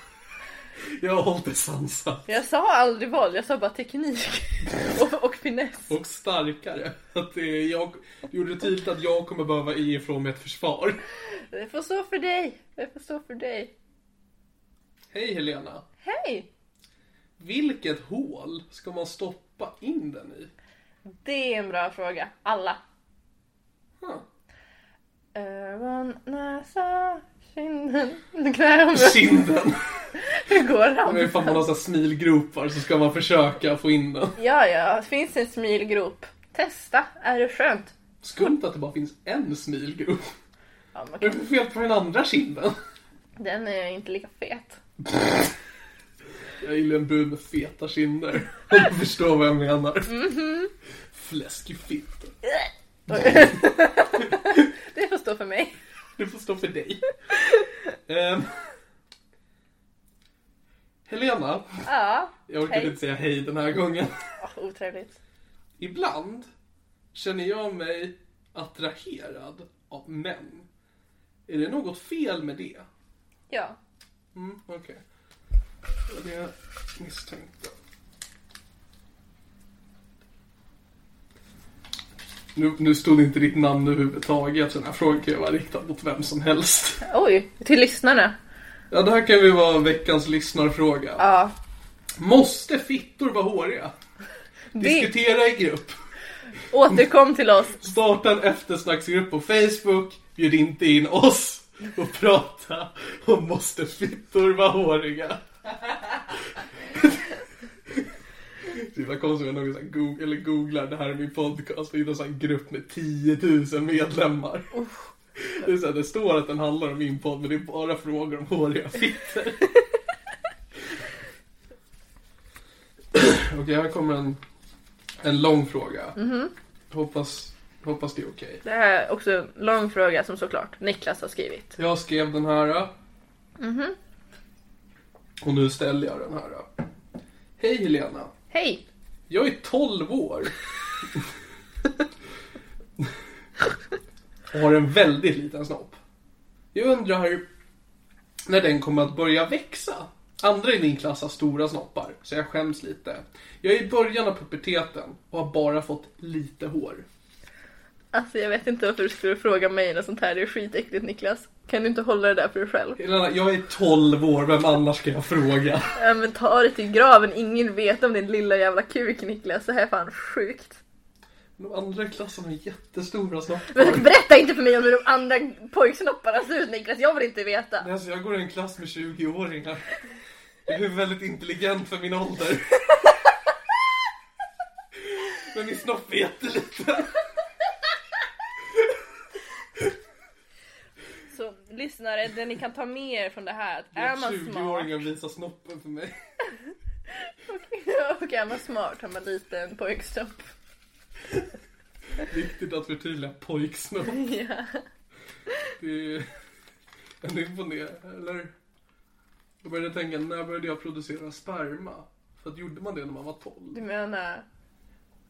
Speaker 2: jag har hållit det sansat.
Speaker 1: Jag sa aldrig våld, jag sa bara teknik. [LAUGHS] och, och finess.
Speaker 2: Och starkare. [LAUGHS] Att det är jag, det gjorde det tydligt att jag kommer behöva ge ifrån mig ett försvar. [LAUGHS]
Speaker 1: Det får stå för dig. Det får stå för dig.
Speaker 2: Hej Helena.
Speaker 1: Hej!
Speaker 2: Vilket hål ska man stoppa in den i?
Speaker 1: Det är en bra fråga. Alla.
Speaker 2: Huh.
Speaker 1: Öron, näsa, kinden,
Speaker 2: [LAUGHS]
Speaker 1: knäna.
Speaker 2: Kinden.
Speaker 1: Hur går
Speaker 2: Men
Speaker 1: han?
Speaker 2: ifall man har så här smilgropar så ska man försöka få in den.
Speaker 1: Ja, ja, finns en smilgrop. Testa, är det skönt?
Speaker 2: Skumt att det bara finns en smilgrop.
Speaker 1: Ja, man
Speaker 2: Vad är
Speaker 1: kan...
Speaker 2: det för fel på den andra kinden? [LAUGHS]
Speaker 1: Den är inte lika fet.
Speaker 2: Jag gillar en brud med feta kinder. [LAUGHS] Du förstår vad jag menar. Mm-hmm. Fläskfitta.
Speaker 1: [LAUGHS] Det får stå för mig.
Speaker 2: Det får stå för dig. Ehm. Helena,
Speaker 1: Ja,
Speaker 2: jag orkade
Speaker 1: Hej.
Speaker 2: inte säga hej den här gången.
Speaker 1: oh, otrevligt.
Speaker 2: Ibland känner jag mig attraherad av män. Är det något fel med det?
Speaker 1: Ja,
Speaker 2: Mm, okej. Det var det jag misstänkte. Nu, nu stod inte ditt namn överhuvudtaget, så den här frågan kan ju vara riktad mot vem som helst.
Speaker 1: oj, till lyssnarna.
Speaker 2: Ja, det här kan ju vara veckans lyssnarfråga.
Speaker 1: Ja,
Speaker 2: Måste fittor vara håriga?
Speaker 1: det...
Speaker 2: Diskutera i grupp.
Speaker 1: återkom till oss.
Speaker 2: Starta en eftersnacksgrupp på Facebook. Bjud inte in oss och prata om måste fittor vara håriga. Det var konstigt om någon så här goog- eller googlar det här är min podcast och hittar en sån här grupp med 10 000 medlemmar. Det, är så här, det står att den handlar om min podd men det är bara frågor om håriga fittor. Okej, här kommer en, en lång fråga. Hoppas, hoppas det är okej.
Speaker 1: Det här är också en lång fråga som såklart Niklas har skrivit.
Speaker 2: Jag skrev den här. äh. Och nu ställer jag den här. äh. Hej Helena.
Speaker 1: Hej!
Speaker 2: Jag är 12 år. och har en väldigt liten snopp. Jag undrar när den kommer att börja växa. Andra i min klass har stora snoppar, så jag skäms lite. Jag är i början av puberteten och har bara fått lite hår.
Speaker 1: Alltså jag vet inte varför du skulle fråga mig något sånt här, det är skitäckligt Niklas. Kan du inte hålla det där för dig själv?
Speaker 2: Helena, jag är 12 år, vem annars ska jag fråga?
Speaker 1: Ja men ta det till graven, ingen vet om din lilla jävla kuk Niklas, det här är fan sjukt.
Speaker 2: De andra i klassen har jättestora
Speaker 1: Men
Speaker 2: snoppar.
Speaker 1: berätta inte för mig om hur de andra pojksnopparna ser ut Niklas, jag vill inte veta.
Speaker 2: Nej, Alltså, jag går i en klass med 20-åringar. Jag är väldigt intelligent för min ålder. Men min snopp är jätteliten.
Speaker 1: Så lyssnare, det ni kan ta med er från det här, att är man [LAUGHS] smart
Speaker 2: 20-åringen visar snoppen för mig.
Speaker 1: och är man smart har man liten pojksnopp.
Speaker 2: Viktigt att förtydliga pojksnopp.
Speaker 1: Ja.
Speaker 2: Det är en imponerande, eller? Jag började tänka, när började jag producera sperma? För att gjorde man det när man var 12?
Speaker 1: Du menar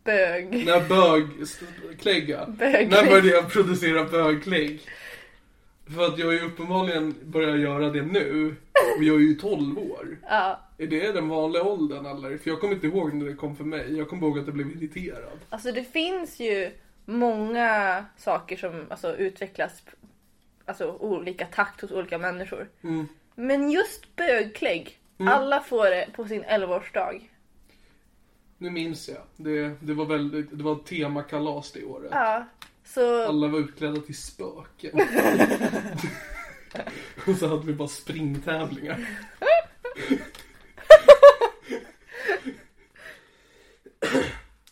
Speaker 1: bög?
Speaker 2: När bög... st- Klägga.
Speaker 1: Bögklägg.
Speaker 2: När började jag producera bögklägg? För att jag är ju uppenbarligen börjar göra det nu. Och jag är ju 12 år.
Speaker 1: Ja.
Speaker 2: Är det den vanliga åldern eller? För jag kommer inte ihåg när det kom för mig. Jag kommer ihåg att jag blev irriterad.
Speaker 1: Alltså det finns ju många saker som alltså, utvecklas, alltså olika takt hos olika människor. Men just bögklägg, alla får det på sin 11-årsdag.
Speaker 2: Nu minns jag. Det, det var väldigt, det var ett temakalas det året.
Speaker 1: Ja, så...
Speaker 2: Alla var utklädda till [LAUGHS] spöken. Och så hade vi bara springtävlingar.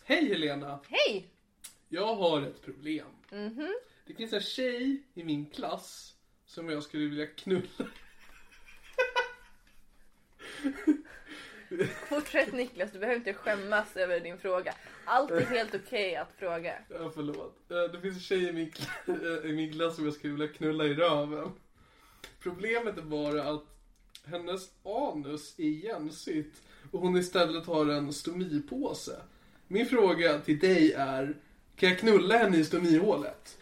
Speaker 2: Hej Helena!
Speaker 1: Hej!
Speaker 2: Jag har ett problem. Det finns en tjej i min klass som jag skulle vilja knulla.
Speaker 1: Fortsätt Niklas, du behöver inte skämmas över din fråga. Allt är helt okej att fråga.
Speaker 2: Ja, förlåt. Eh, Det finns en tjej i min, [LAUGHS] kla- i min klass som jag skulle vilja knulla i röven. Problemet är bara att hennes anus är igensigt och hon istället har en stomipåse. Min fråga till dig är, kan jag knulla henne i stomihålet?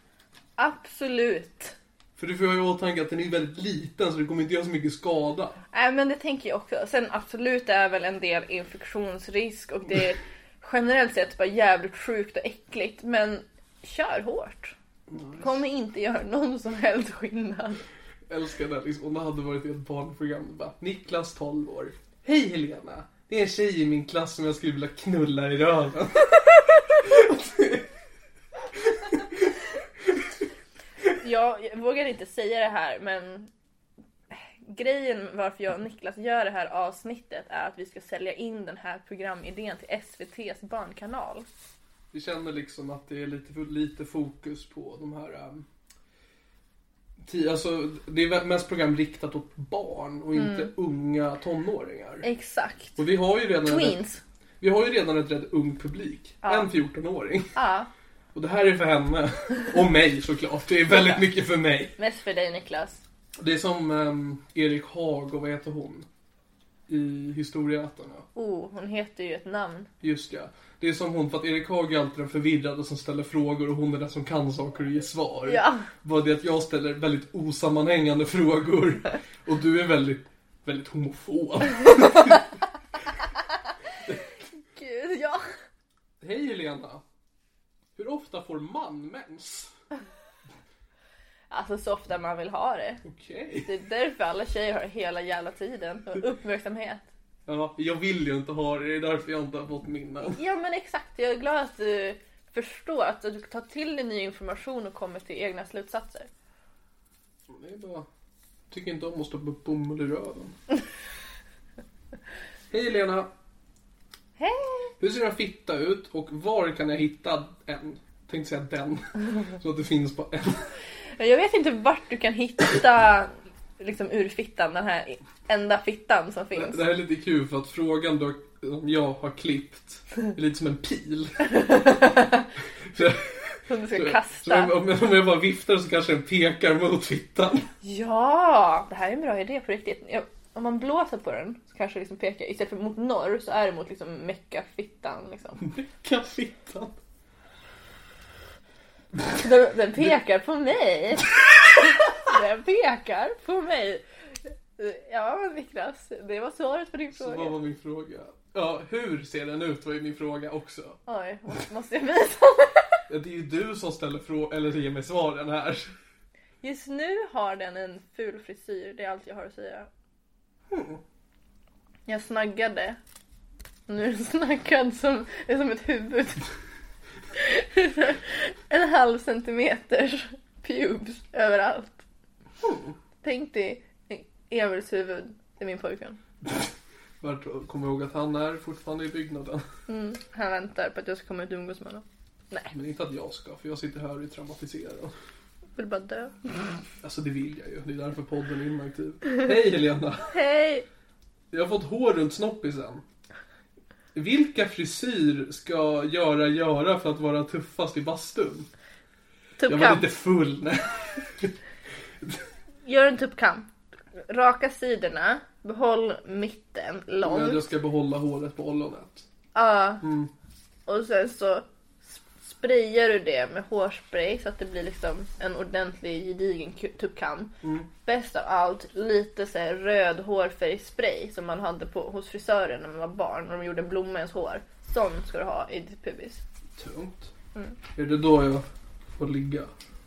Speaker 1: Absolut.
Speaker 2: För du får ha i åtanke att den är väldigt liten så det kommer inte göra så mycket skada.
Speaker 1: Nej men det tänker jag också. Sen absolut är väl en del infektionsrisk och det är generellt sett bara jävligt sjukt och äckligt. Men kör hårt. Det kommer inte göra någon som helst skillnad.
Speaker 2: älskar den liksom. Om det hade varit ett barnprogram. det Bara, Niklas 12 år. Hej Helena! Det är en tjej i min klass som jag skulle vilja knulla i röven.
Speaker 1: Jag, jag vågar inte säga det här men grejen varför jag och Niklas gör det här avsnittet är att vi ska sälja in den här programidén till SVT's barnkanal.
Speaker 2: Vi känner liksom att det är lite för lite fokus på de här... ehm, ti- alltså, det är vä- mest program riktat åt barn och inte unga tonåringar.
Speaker 1: Exakt.
Speaker 2: Och vi har ju redan, en,
Speaker 1: Tweens.
Speaker 2: vi har ju redan ett rätt ung publik. En 14-åring.
Speaker 1: Ja,
Speaker 2: [LAUGHS] Och det här är för henne. Och mig såklart. Det är väldigt mycket för mig.
Speaker 1: mest för dig Niklas.
Speaker 2: Det är som ehm, Erik Haag och vad heter hon? I Historieätarna.
Speaker 1: Oh, hon heter ju ett namn.
Speaker 2: Just ja. Det är som hon, för att Erik Haag är alltid den förvirrade som ställer frågor och hon är den som kan saker och ger svar.
Speaker 1: Ja.
Speaker 2: Bara det att jag ställer väldigt osammanhängande frågor och du är väldigt, väldigt homofob.
Speaker 1: Gud, ja.
Speaker 2: Hej Helena! Hur ofta får man mens?
Speaker 1: Alltså så ofta man vill ha det.
Speaker 2: Okej.
Speaker 1: Det är därför alla tjejer har det hela jävla tiden. Och Uppmärksamhet.
Speaker 2: Ja, jag vill ju inte ha det, det är därför jag inte har fått min än.
Speaker 1: Ja men exakt, jag är glad att du förstår att du tar till dig ny information och kommer till egna slutsatser.
Speaker 2: Det är bara... Tycker inte om att stoppa upp bomull i röven. Hej Lena!
Speaker 1: Hej!
Speaker 2: Hur ser en fitta ut och var kan jag hitta en? Tänkte säga den. Så att det finns bara en.
Speaker 1: Men Jag vet inte vart du kan hitta liksom ur fittan, den här enda fittan som finns.
Speaker 2: Det här är lite kul för att frågan då, som jag har klippt är lite som en pil. Så,
Speaker 1: Som du ska
Speaker 2: så om,
Speaker 1: kasta.
Speaker 2: om jag- om jag bara viftar så kanske den pekar mot fittan.
Speaker 1: Ja! Det här är en bra idé på riktigt. Ja, Om man blåser på den så kanske det liksom pekar, istället för mot norr så är det mot liksom meckafittan
Speaker 2: [LAUGHS]
Speaker 1: liksom.
Speaker 2: Mecka fittan.
Speaker 1: Den, den pekar på mig! [LAUGHS] Den pekar på mig! Ja Niklas, det var svaret på din
Speaker 2: Så vad
Speaker 1: fråga.
Speaker 2: var min fråga? Ja, hur ser den ut var ju min fråga också.
Speaker 1: Oj, måste jag visa? [LAUGHS]
Speaker 2: Ja, det är ju du som ställer frågan, eller ger mig svaren här.
Speaker 1: Just nu har den en ful frisyr, det är allt jag har att säga. Jag snaggade. Nu är den snaggad som, det är som ett huvud. en halv centimeter pubes överallt. Tänk dig Emils huvud, det är min pojkvän.
Speaker 2: Vart kommer ihåg att han är fortfarande i byggnaden.
Speaker 1: Han väntar på att jag ska komma ut och umgås med honom. Nej,
Speaker 2: Men inte att jag ska, för jag sitter här och är traumatiserad.
Speaker 1: vill bara dö.
Speaker 2: Alltså det vill jag ju, det är därför podden är inaktiv. Hej Helena!
Speaker 1: Hej!
Speaker 2: Jag har fått hår runt snoppisen. Vilka frisyr ska göra göra för att vara tuffast i bastun? Jag var
Speaker 1: Tuppkam.
Speaker 2: lite full. [LAUGHS] Nej.
Speaker 1: Gör en tuppkam. Raka sidorna, behåll mitten lång.
Speaker 2: Men jag ska behålla håret på ollonet.
Speaker 1: Ja. Och sen så sp- sprayar du det med hårspray så att det blir liksom en ordentlig gedigen ku- tuppkam. Bäst av allt lite så här röd hårfärgspray som man hade på, hos frisören när man var barn och de gjorde en blomma i ens hår. Sån ska du ha i ditt pubis.
Speaker 2: Tungt.
Speaker 1: Mm.
Speaker 2: Är det då jag får ligga?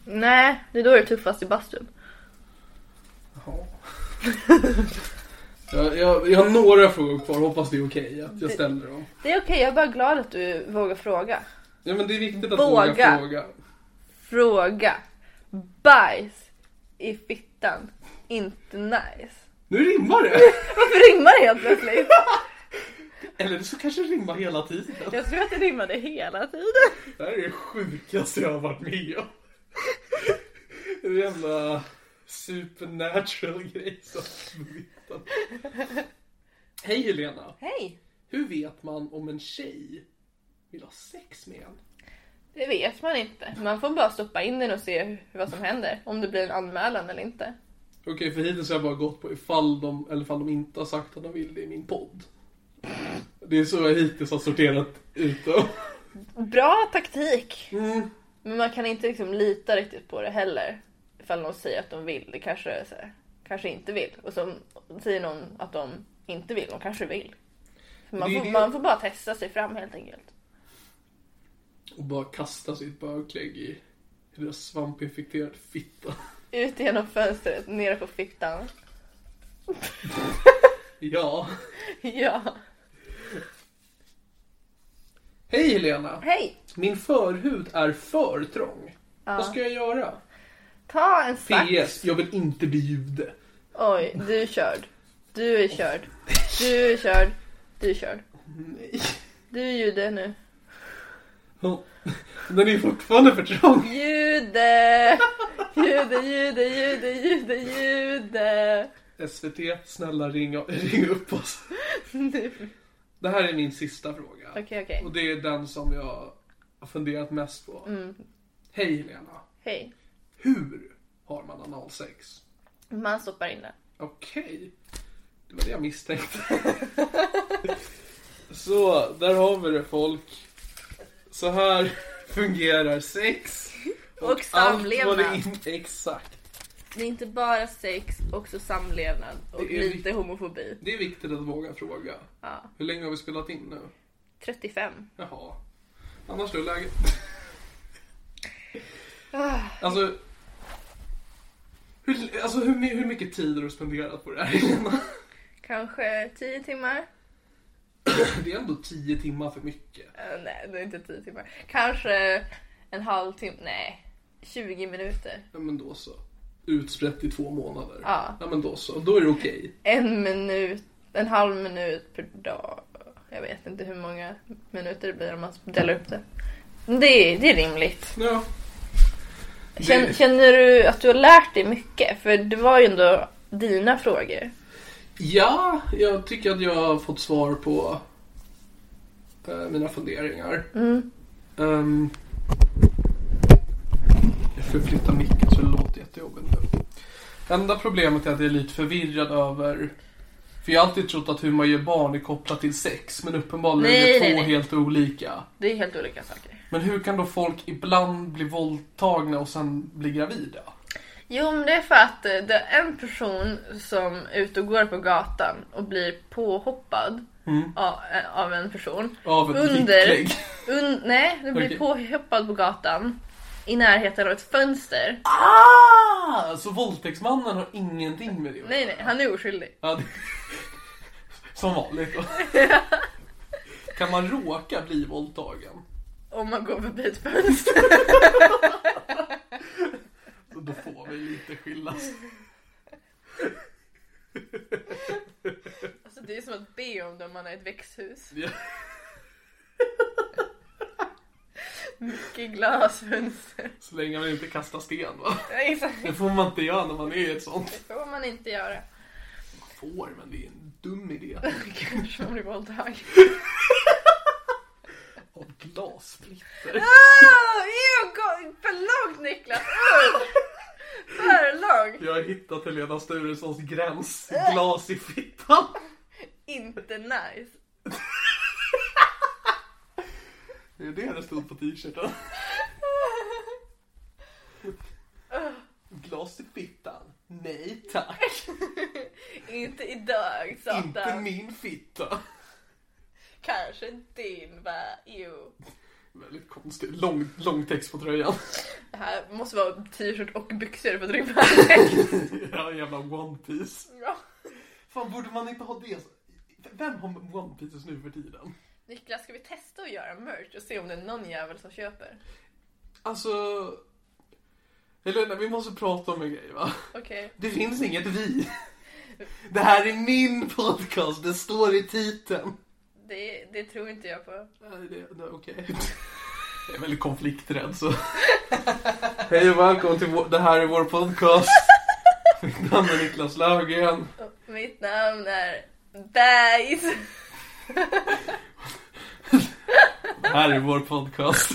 Speaker 1: Nej, det är då du är tuffast i bastun.
Speaker 2: Jaha. [LAUGHS] Jag, jag, jag har några frågor kvar, hoppas det är okej att jag
Speaker 1: Det-
Speaker 2: ställer dem.
Speaker 1: Det är okej, jag är bara glad att du vågar fråga.
Speaker 2: Ja men det är viktigt att
Speaker 1: Våga.
Speaker 2: våga fråga.
Speaker 1: Fråga. Bajs i fittan. Inte nice.
Speaker 2: Nu rimmar det!
Speaker 1: Varför rimmar det helt plötsligt? [LAUGHS]
Speaker 2: Eller så kanske det rimmar hela tiden.
Speaker 1: Jag tror att det rimmade hela tiden.
Speaker 2: Det här är det sjukaste jag har varit med om. Det är en jävla supernatural grej som smittar. Hej Helena!
Speaker 1: Hej!
Speaker 2: Hur vet man om en tjej vill ha sex med en?
Speaker 1: Det vet man inte. Man får bara stoppa in den och se hur- vad som händer. Om det blir en anmälan eller inte.
Speaker 2: Okej, för hittills har jag bara gått på ifall de, eller ifall de inte har sagt att de vill det i min podd. Det är så jag hittills har sorterat ut dem.
Speaker 1: Bra taktik!
Speaker 2: Mm.
Speaker 1: Men man kan inte liksom lita riktigt på det heller. Ifall någon säger att de vill, det kanske är så här, kanske inte vill. Och så säger någon att de inte vill, de kanske vill. Man
Speaker 2: Det är
Speaker 1: får,
Speaker 2: det-
Speaker 1: man får bara testa sig fram helt enkelt.
Speaker 2: Och bara kasta sitt bögklägg i i deras svampinfekterade fitta.
Speaker 1: Ut genom fönstret, nere på fittan.
Speaker 2: Ja.
Speaker 1: Ja.
Speaker 2: Hej Helena!
Speaker 1: Hej!
Speaker 2: Min förhud är för trång. Vad ska jag göra?
Speaker 1: Ta en sax.
Speaker 2: PS. Jag vill inte bli jude.
Speaker 1: Oj, du är körd. Du är körd. Du är körd. Du är körd.
Speaker 2: Nej.
Speaker 1: Du är jude nu.
Speaker 2: Ja. Den är fortfarande för trång.
Speaker 1: Jude! Jude, jude, jude, jude, jude.
Speaker 2: SVT, snälla ring, ring upp oss.
Speaker 1: Nu.
Speaker 2: Det här är min sista fråga.
Speaker 1: Okej, okej.
Speaker 2: Och det är den som jag har funderat mest på. Hej Helena.
Speaker 1: Hej.
Speaker 2: Hur har man analsex?
Speaker 1: Man stoppar in den.
Speaker 2: Okej. Det var det jag misstänkte. [LAUGHS] Så, där har vi det folk. Så här [LAUGHS] fungerar sex.
Speaker 1: Och samlevnad.
Speaker 2: Allt vad det inte exakt.
Speaker 1: Det är inte bara sex, också samlevnad och
Speaker 2: Det är vi-
Speaker 1: lite homofobi.
Speaker 2: Det är viktigt att våga fråga.
Speaker 1: Ja.
Speaker 2: Hur länge har vi spelat in nu?
Speaker 1: 35.
Speaker 2: Jaha. Annars då, läget?
Speaker 1: Ah.
Speaker 2: alltså, hur, alltså hur, my- hur mycket tid har du spenderat på det här Helena?
Speaker 1: Kanske 10 timmar?
Speaker 2: Det är ändå tio timmar för mycket.
Speaker 1: Eh, nej, det är inte 10 timmar. Kanske en halvtimme? Nej. 20 minuter.
Speaker 2: Ja men då så. Utspritt i två månader.
Speaker 1: Ja.
Speaker 2: men då så. Då är det okej.
Speaker 1: en minut, en halv minut per dag. Jag vet inte hur många minuter det blir om man delar upp det. Men Det, är- det är rimligt.
Speaker 2: Ja.
Speaker 1: Känner,
Speaker 2: Det-
Speaker 1: känner du att du har lärt dig mycket? För det var ju ändå dina frågor.
Speaker 2: ja, jag tycker att jag har fått svar på eh, mina funderingar.
Speaker 1: Mm.
Speaker 2: Ehm, jag förflyttar micken så det låter jättejobbigt nu. Enda problemet är att jag är lite förvirrad över för jag har alltid trott att hur man gör barn är kopplat till sex, men uppenbarligen är
Speaker 1: Nej,
Speaker 2: det
Speaker 1: nej,
Speaker 2: två
Speaker 1: nej.
Speaker 2: helt olika.
Speaker 1: Det är helt olika saker.
Speaker 2: Men hur kan då folk ibland bli våldtagna och sen bli gravida?
Speaker 1: Jo, men det är för att eh, det är en person som är ute och går på gatan och blir påhoppad av, eh, av en person.
Speaker 2: Av ett
Speaker 1: under,
Speaker 2: dicklägg.
Speaker 1: un, Nej, den blir
Speaker 2: Okej.
Speaker 1: påhoppad på gatan i närheten av ett fönster.
Speaker 2: Ah! Så våldtäktsmannen har ingenting med det att
Speaker 1: Nej,
Speaker 2: göra?
Speaker 1: nej, han är oskyldig.
Speaker 2: Ja, det... [LAUGHS] Som vanligt då. Kan man råka bli våldtagen?
Speaker 1: Om man går förbi ett fönster.
Speaker 2: Så Då får vi lite skyllas.
Speaker 1: [LAUGHS] Alltså, det är som att be om det om man är ett växthus.
Speaker 2: Ja.
Speaker 1: Mycket [LAUGHS] glasfönster.
Speaker 2: Så länge man inte kastar sten va?
Speaker 1: Ja, exakt.
Speaker 2: Det får man inte göra när man är i ett sånt.
Speaker 1: Det får man inte göra.
Speaker 2: Man får, men det är en dum idé.
Speaker 1: Kanske man blir våldtagen.
Speaker 2: Av glassplitter.
Speaker 1: Ah, ew, gå- för långt Niklas! Usch! För långt!
Speaker 2: Jag har hittat Helena Sturessons gräns. Glas i fittan.
Speaker 1: Inte nice.
Speaker 2: Det är det det stod på t-shirten. Glas i fittan. Nej tack.
Speaker 1: Inte idag
Speaker 2: Inte
Speaker 1: Satan.
Speaker 2: min fitta.
Speaker 1: Kanske din va? Jo.
Speaker 2: Väldigt konstig. Lång, lång text på [LAUGHS] tröjan.
Speaker 1: Det här måste [LAUGHS] vara t-shirt och byxor för att rymma en text.
Speaker 2: ja, jävla one piece.
Speaker 1: Ja.
Speaker 2: Fan, borde man inte ha det? Vem har One Pieces nu för tiden?
Speaker 1: Niklas, ska vi testa att göra merch och se om det är någon jävel som köper?
Speaker 2: Alltså... Helena, vi måste prata om en grej va?
Speaker 1: Okej.
Speaker 2: Det finns inget vi. Det här är min podcast, det står i titeln.
Speaker 1: Det, det tror inte jag på.
Speaker 2: Nej, det, det, okej. Jag är väldigt konflikträdd så. [LAUGHS] Hej och välkommen till vår, det här är vår podcast. Mitt namn är Niklas Löfgren.
Speaker 1: Och mitt namn är Bergs.
Speaker 2: Det här är vår podcast.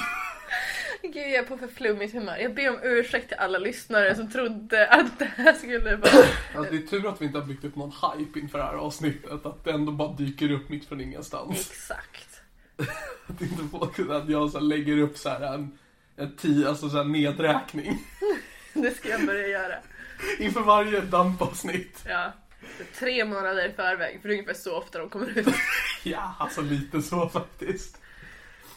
Speaker 1: Gud, jag är på för flummigt humör. Jag ber om ursäkt till alla lyssnare som trodde att det här skulle vara...
Speaker 2: Alltså, det är tur att vi inte har byggt upp någon hype inför det här avsnittet. Att det ändå bara dyker upp mitt från ingenstans.
Speaker 1: Exakt.
Speaker 2: Att det inte var att jag så här lägger upp så här en, en tio, alltså så här nedräkning. [LAUGHS]
Speaker 1: Det ska jag börja göra.
Speaker 2: Inför varje dampavsnitt.
Speaker 1: Ja. Tre månader i förväg, för det är ungefär så ofta de kommer ut.
Speaker 2: Ja, alltså lite så faktiskt.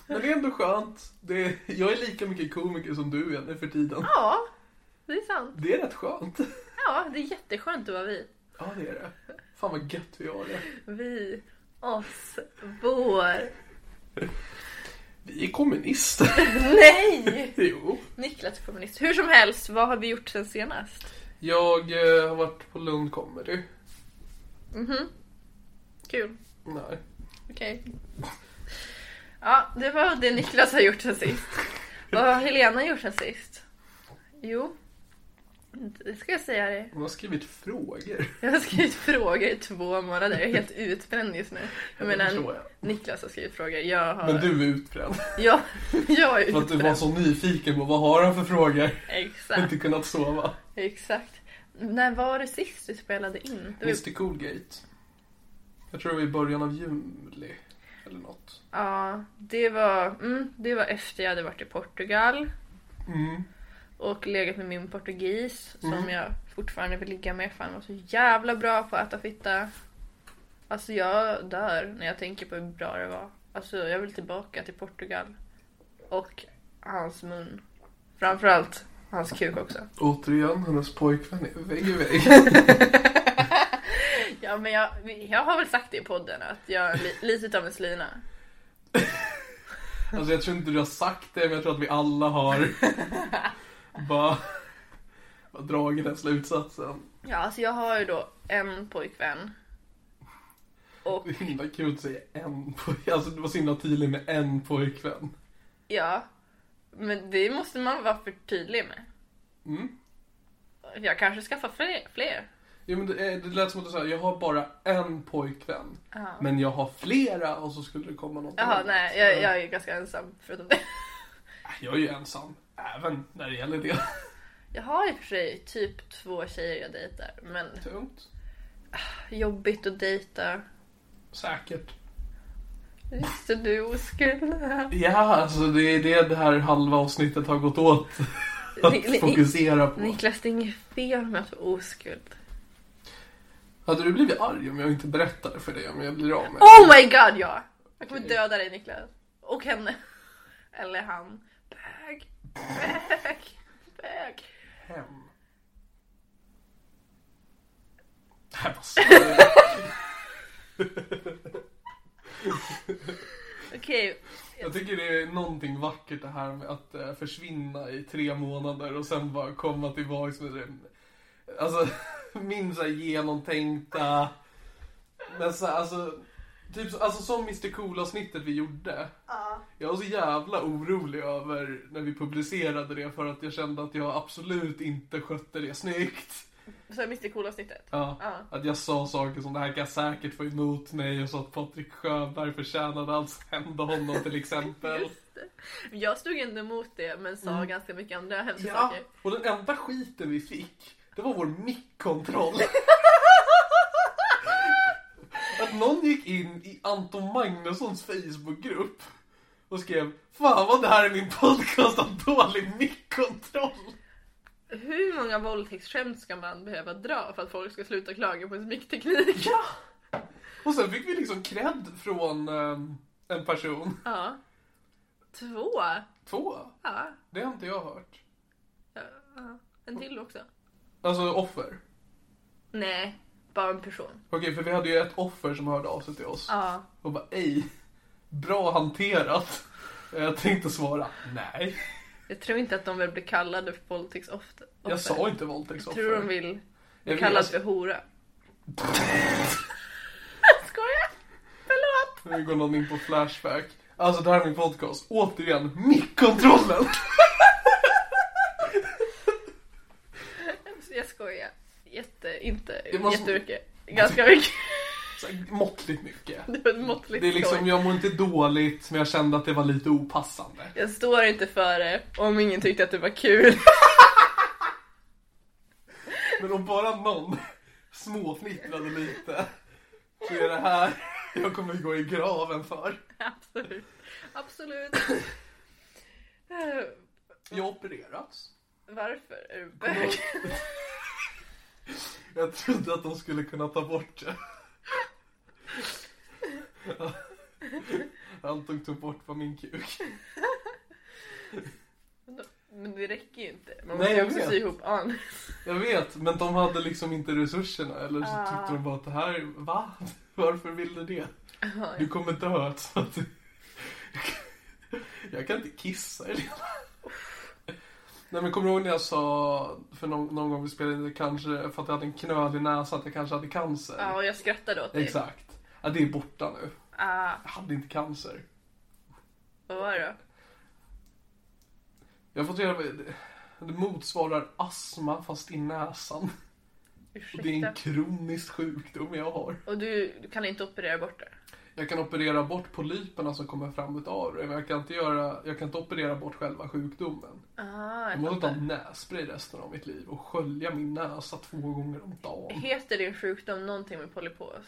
Speaker 2: Men det är ändå skönt. Det, jag är lika mycket komiker som du är nu för tiden.
Speaker 1: Ja, det är sant.
Speaker 2: Det är rätt skönt.
Speaker 1: Ja, det är jätteskönt att vara vi.
Speaker 2: Ja, det är det. Fan vad gött vi har det.
Speaker 1: Vi, oss, vår.
Speaker 2: Vi är [LAUGHS] kommunister.
Speaker 1: Nej!
Speaker 2: Jo.
Speaker 1: Niklas är feminist. Hur som helst, vad har vi gjort sen senast?
Speaker 2: Jag eh, har varit på Lund Comedy.
Speaker 1: Mhm. Kul.
Speaker 2: Nej.
Speaker 1: Okej. Ja, det var det Niklas har gjort sen sist. Vad har Helena gjort sen sist? Jo, det ska jag säga dig.
Speaker 2: Hon har skrivit frågor.
Speaker 1: Jag har skrivit frågor i två månader. Jag är helt utbränd just nu. Jag
Speaker 2: Det
Speaker 1: menar,
Speaker 2: förstår jag.
Speaker 1: Niklas har skrivit frågor. Jag har...
Speaker 2: Men du är
Speaker 1: [LAUGHS]
Speaker 2: utbränd.
Speaker 1: Jag, jag är
Speaker 2: För att du
Speaker 1: utbränd.
Speaker 2: var så nyfiken på vad har han för frågor.
Speaker 1: Exakt.
Speaker 2: Inte kunnat sova.
Speaker 1: Exakt. När var det sist du spelade in? Det var...
Speaker 2: Mr Coolgate. Jag tror det var i början av juli. Eller något.
Speaker 1: Ja, det var, mm, det var efter jag hade varit i Portugal
Speaker 2: Mm.
Speaker 1: och legat med min portugis som
Speaker 2: Mm.
Speaker 1: jag fortfarande vill ligga med för han var så jävla bra på att äta fitta. Alltså jag dör när jag tänker på hur bra det var. Alltså jag vill tillbaka till Portugal. Och hans mun. Framförallt hans kuk också.
Speaker 2: Återigen, hennes pojkvän är vägg
Speaker 1: [LAUGHS]
Speaker 2: i vägg.
Speaker 1: Ja men jag, jag har väl sagt det i podden att jag är li, [LAUGHS] lite av en slina.
Speaker 2: Alltså jag tror inte du har sagt det, men jag tror att vi
Speaker 1: [LAUGHS]
Speaker 2: alla har bara, bara dragit den slutsatsen.
Speaker 1: Ja, alltså jag har ju då en pojkvän. Och
Speaker 2: Det är himla kul att säga en pojkvän. Alltså du var så himla tydlig med en pojkvän.
Speaker 1: ja, men det måste man vara för tydlig med.
Speaker 2: Mm.
Speaker 1: Jag kanske skaffar fler. fler.
Speaker 2: Jo men det, eh, det lät som att du sa, jag har bara en pojkvän.
Speaker 1: Ja.
Speaker 2: Men jag har flera och så skulle det komma något
Speaker 1: Jaha,
Speaker 2: annat. eh,
Speaker 1: nej, jag, jag är ju ganska ensam förutom det.
Speaker 2: Jag är ju ensam, även när det gäller det. [LAUGHS]
Speaker 1: Jag har i och för sig typ två tjejer jag dejtar, men
Speaker 2: Tungt.
Speaker 1: jobbigt att dejta.
Speaker 2: Säkert.
Speaker 1: Visst är du oskuld?
Speaker 2: Ja, alltså det är det det här halva avsnittet har gått åt. [LAUGHS]
Speaker 1: Ni-
Speaker 2: Att
Speaker 1: ni-
Speaker 2: fokusera på.
Speaker 1: Niklas, det är inget fel med att vara oskuld.
Speaker 2: Hade du blivit arg om jag inte berättade för dig om jag blir av med
Speaker 1: Oh my god, ja! Jag kommer
Speaker 2: Okej.
Speaker 1: döda dig Niklas. Och henne. Eller han. Bög. Bög. Bög.
Speaker 2: hem? Nej, vad sa jag?
Speaker 1: Okej,
Speaker 2: Jag tycker det är någonting vackert det här med att eh, försvinna i tre månader och sen bara komma tillbaks med det. Alltså, [LAUGHS] min så här genomtänkta... Men så här, alltså, typ, så- alltså som Mr Cool-avsnittet vi gjorde. Jag var så jävla orolig över när vi publicerade det för att jag kände att jag absolut inte skötte det snyggt.
Speaker 1: så jag missade coola-avsnittet.
Speaker 2: Ja,
Speaker 1: Ja.
Speaker 2: Att jag sa saker som det här kan jag säkert få emot mig och så att Patrik Sjöberg förtjänade allt som hände honom till exempel.
Speaker 1: Jag stod ändå emot det men sa ganska mycket andra hemska
Speaker 2: Mm. Ja,
Speaker 1: saker.
Speaker 2: och den enda skiten vi fick, det var vår mickkontroll.
Speaker 1: [LAUGHS]
Speaker 2: Att någon gick in i Anton Magnussons Facebookgrupp och skrev Fan vad det här är min podcast har dålig mickkontroll.
Speaker 1: Hur många våldtäktsskämt ska man behöva dra för att folk ska sluta klaga på ens mickteknik?
Speaker 2: [LAUGHS] Ja! Och sen fick vi liksom cred från ehm, en person.
Speaker 1: Ja. Två?
Speaker 2: Två.
Speaker 1: Ja.
Speaker 2: Det har inte jag hört.
Speaker 1: ja. En till också.
Speaker 2: Alltså offer.
Speaker 1: Nej. bara en person.
Speaker 2: Okej, för vi hade ju ett offer som hörde av sig till oss.
Speaker 1: Ja.
Speaker 2: Och bara, ej, bra hanterat. Eh, Jag tänkte svara, nej.
Speaker 1: Jag tror inte att de vill bli kallade för våldtäktsoffer.
Speaker 2: Jag sa inte våldtäktsoffer.
Speaker 1: Tror de vill
Speaker 2: Jag
Speaker 1: bli
Speaker 2: vill-
Speaker 1: kallad för
Speaker 2: [LAUGHS]
Speaker 1: hora. Skojar! Förlåt!
Speaker 2: Nu går någon in på Flashback. Alltså det här är min podcast. Återigen, mickkontrollen!
Speaker 1: Jag skojar. Jätte, inte,
Speaker 2: Det måste-
Speaker 1: jättemycket. Ganska
Speaker 2: [LAUGHS]
Speaker 1: mycket.
Speaker 2: Så här, Måttligt mycket.
Speaker 1: Det var ett måttligt
Speaker 2: Det är liksom,
Speaker 1: skoj.
Speaker 2: jag mår inte dåligt men jag kände att det var lite opassande.
Speaker 1: Jag står inte för det om ingen tyckte att det var kul.
Speaker 2: Men om bara någon småfnittrade lite så är det här jag kommer gå i graven för.
Speaker 1: [LAUGHS] Absolut. Absolut. Eh,
Speaker 2: Jag har opererats.
Speaker 1: Varför är du bög?
Speaker 2: Jag trodde att de skulle kunna ta bort det. Anton tog bort på min kuk.
Speaker 1: [LAUGHS] Men det räcker ju inte. Man
Speaker 2: Nej,
Speaker 1: måste ju
Speaker 2: jag
Speaker 1: också
Speaker 2: vet.
Speaker 1: sy ihop an.
Speaker 2: Jag vet, men de hade liksom inte resurserna. Eller så tyckte de bara att det här, va? Varför vill du det? Du kommer dö. Så att... Jag kan inte kissa Elena. Nej men kommer du ihåg när jag sa för någon, någon gång vi spelade in det, kanske för att jag hade en knöl i näsan att jag kanske hade cancer?
Speaker 1: Ja, och jag typ. skrattade åt dig.
Speaker 2: Exakt. Ja, det är borta nu.
Speaker 1: Ah,
Speaker 2: Jag hade inte cancer.
Speaker 1: vad var det
Speaker 2: Jag har fått reda på det motsvarar astma fast i näsan.
Speaker 1: då?
Speaker 2: Och det är en
Speaker 1: Ursäkta.
Speaker 2: kronisk sjukdom jag har.
Speaker 1: Och du, du kan inte operera bort det?
Speaker 2: Jag kan operera bort polyperna som kommer fram utav det, men jag kan inte, göra, jag kan inte operera bort själva sjukdomen.
Speaker 1: Ah,
Speaker 2: Jag
Speaker 1: jag
Speaker 2: måste ta
Speaker 1: fattar.
Speaker 2: nässpray resten av mitt liv och skölja min näsa två gånger om dagen.
Speaker 1: Heter din sjukdom någonting med polypos?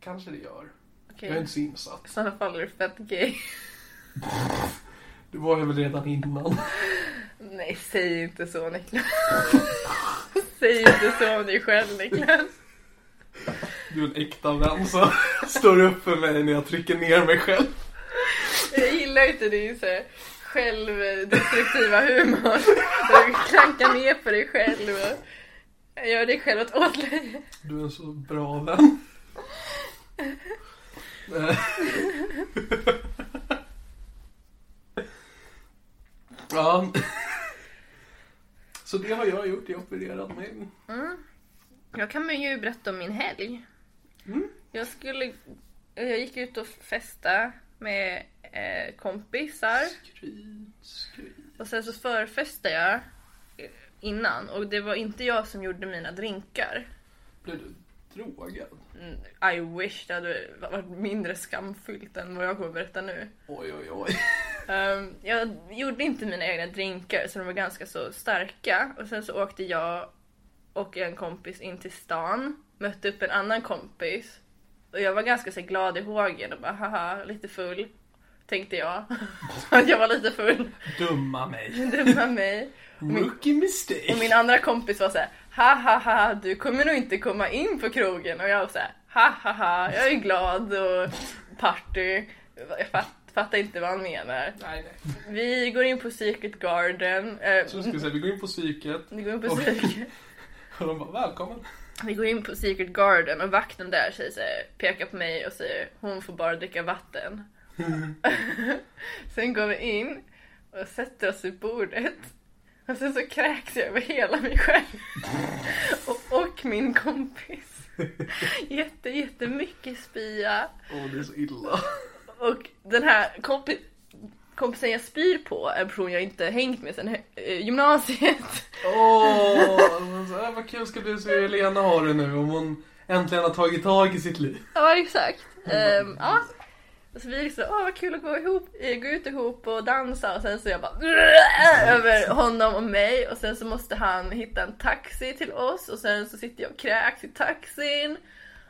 Speaker 2: Kanske det gör.
Speaker 1: Okej.
Speaker 2: Jag är inte så insatt.
Speaker 1: I sådana fall är du fett gay. [LAUGHS]
Speaker 2: Det var jag väl redan innan.
Speaker 1: Nej, säg inte så
Speaker 2: [LAUGHS]
Speaker 1: Niklas. säg inte så om dig själv Niklas.
Speaker 2: Du är en äkta vän som [LAUGHS] står upp för mig när jag trycker ner mig själv.
Speaker 1: Jag gillar inte din så här självdestruktiva humor. Du klankar ner på dig själv och gör dig själv ett åtlöje.
Speaker 2: Du är en så bra [LAUGHS] vän. Eh. ja. Så det har jag gjort, jag har opererat mig.
Speaker 1: Jag kan ju berätta om min helg.
Speaker 2: Mm.
Speaker 1: Jag skulle... Jag gick ut och festa med eh, kompisar.
Speaker 2: Skryt, skryt.
Speaker 1: Och sen så förfestade jag eh, innan. Och det var inte jag som gjorde mina drinkar.
Speaker 2: Blev du drogad?
Speaker 1: Mm, I wish det hade varit mindre skamfyllt än vad jag kommer att berätta nu.
Speaker 2: Oj, oj, oj.
Speaker 1: Ehm, jag gjorde inte mina egna drinkar så de var ganska så starka. Och sen så åkte jag och en kompis in till stan, mötte upp en annan kompis. Och jag var ganska så här glad i hågen och bara haha, lite full. Tänkte jag. [LAUGHS] Att jag var lite full. [LAUGHS]
Speaker 2: Dumma mig.
Speaker 1: Dumma mig.
Speaker 2: Rookie
Speaker 1: Och min
Speaker 2: mistake.
Speaker 1: andra kompis var så här, ha ha ha, du kommer nog inte komma in på krogen. Och jag var så här, ha ha ha, jag är glad och party. Jag fatt, fattar inte vad han menar.
Speaker 2: Nej, nej.
Speaker 1: Vi går in på Secret Garden. Eh,
Speaker 2: Så nu ska vi säga, vi går in på psyket
Speaker 1: vi, går in på
Speaker 2: Oj.
Speaker 1: Secret,
Speaker 2: och de bara [LAUGHS] välkommen.
Speaker 1: vi går in på Secret Garden och vakten där säger så här, pekar på mig och säger hon får bara dricka
Speaker 2: [LAUGHS]
Speaker 1: vatten. sen går vi in och sätter oss vid bordet. Och sen så kräks jag över hela mig
Speaker 2: [LAUGHS]
Speaker 1: själv. och, och min kompis. Jätte, jättemycket spya.
Speaker 2: Åh, det är så illa.
Speaker 1: Och den här kompi kompisen jag spyr på, en person jag inte hängt med sen hö- eh, gymnasiet.
Speaker 2: Åh, men så här, vad kul ska det bli att se hur Helena har det nu om hon äntligen har tagit tag i sitt liv.
Speaker 1: Ja, exakt.
Speaker 2: Mm.
Speaker 1: Ehm, ja. Så vi liksom, åh vad kul att gå, ihop, eh, gå ut ihop och dansa och sen så jag bara över honom och mig och sen så måste han hitta en taxi till oss och sen så sitter jag och kräks i taxin.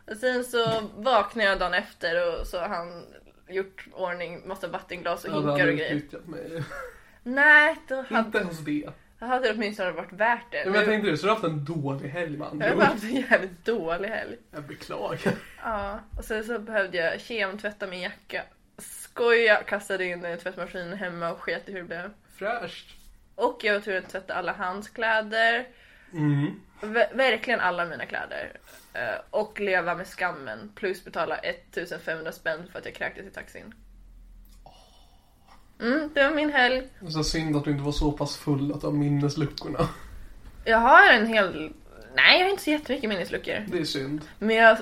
Speaker 1: Och sen så vaknar jag dagen efter och så har han gjort ordning massa vattenglas och
Speaker 2: Hade han
Speaker 1: hinkar och grejer.
Speaker 2: utnyttjat
Speaker 1: [LAUGHS]
Speaker 2: mig.
Speaker 1: Nej, då
Speaker 2: Inte
Speaker 1: hade,
Speaker 2: ens det.
Speaker 1: då hade det åtminstone varit värt det.
Speaker 2: Men jag tänkte det, så du har haft en dålig helg va?
Speaker 1: jag har bara haft en jävligt dålig helg.
Speaker 2: Jag beklagar.
Speaker 1: Ja, och sen så behövde jag kemtvätta min jacka. Skoja, kastade in den i tvättmaskinen hemma och sket i hur det blev.
Speaker 2: Fräscht.
Speaker 1: Och jag var tvungen att tvätta alla hans kläder.
Speaker 2: Mm.
Speaker 1: Ver- verkligen alla mina kläder. Eh, och leva med skammen plus betala 1500 spänn för att jag kräktes i taxin. Mm, det var min helg.
Speaker 2: Så synd att du inte var så pass full att du har minnesluckorna.
Speaker 1: Jag har en hel... Nej, jag har inte så jättemycket minnesluckor.
Speaker 2: Det är synd.
Speaker 1: Men jag,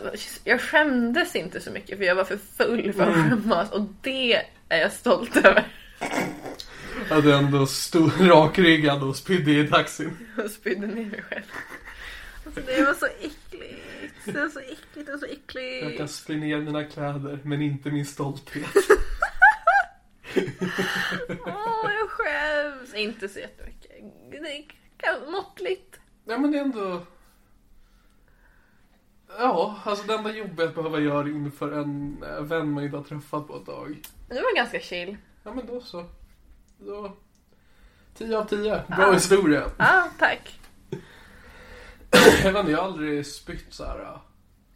Speaker 1: jag skämdes inte så mycket för jag var för full för att skämmas och det är jag stolt över.
Speaker 2: Att du ändå stod rakryggad och spydde i taxin.
Speaker 1: Jag spydde ner mig själv. Alltså, det var så äckligt. Det var så äckligt, det var så äckligt.
Speaker 2: Jag kan spy ner mina kläder, men inte min stolthet.
Speaker 1: Åh, jag skäms. Inte så jättemycket. Det är kan- måttligt.
Speaker 2: Nej men det är ändå... Ja, alltså det enda jobbet att behöva göra inför en eh, vän man inte har träffat på ett tag.
Speaker 1: Men det var ganska chill.
Speaker 2: Ja men då så. Då... 10 av 10. Bra historia.
Speaker 1: Ja, ah, tack.
Speaker 2: Jag vet inte, jag har aldrig spytt så här eh,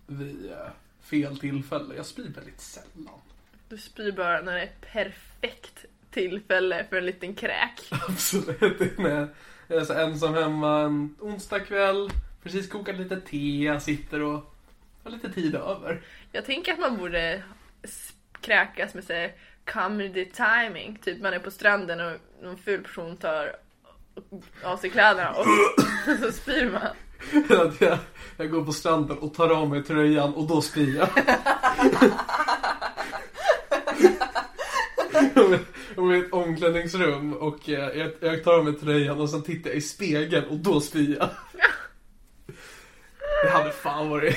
Speaker 2: vid eh, fel tillfälle. Jag spyr väldigt sällan. [LAUGHS]
Speaker 1: Du spyr bara när det är ett perfekt tillfälle för en liten kräk.
Speaker 2: Absolut. Det är När jag är så ensam hemma en onsdag kväll. Precis kokat lite te. Jag sitter och har lite tid över.
Speaker 1: Jag tänker att man borde s- kräkas med såhär comedy timing. Typ man är på stranden och någon ful person tar av sig kläderna och [LAUGHS] så spyr man.
Speaker 2: [LAUGHS] Att jag, jag går på stranden och tar av mig tröjan och då spyr jag. Om jag- Om jag är i ett omklädningsrum och eh, jag, jag tar av mig tröjan och sen tittar jag i spegeln och då spyr jag. Det hade fan varit...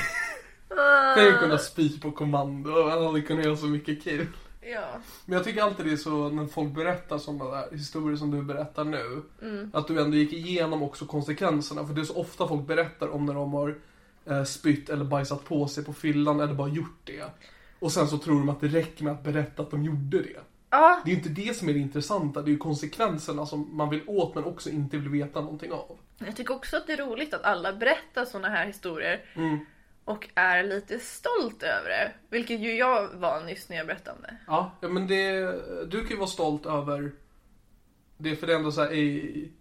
Speaker 2: Tänk att kunna spy på kommando. Han hade kunnat göra så mycket kul.
Speaker 1: Ja.
Speaker 2: Men jag tycker alltid det är så när folk berättar sådana där historier som du berättar nu. Att du ändå gick igenom också konsekvenserna. För det är så ofta folk berättar om när de har eh, spytt eller bajsat på sig på fyllan eller bara gjort det. Och sen så tror de att det räcker med att berätta att de gjorde det.
Speaker 1: Ja,
Speaker 2: Det är ju inte det som är det intressanta. Det är ju konsekvenserna som man vill åt men också inte vill veta någonting av.
Speaker 1: jag tycker också att det är roligt att alla berättar såna här historier
Speaker 2: Mm.
Speaker 1: och är lite stolt över det. Vilket ju jag var nyss när jag berättade om det.
Speaker 2: Ja, ja, men det... Du kan ju vara stolt över... Det för det är ändå såhär, ej...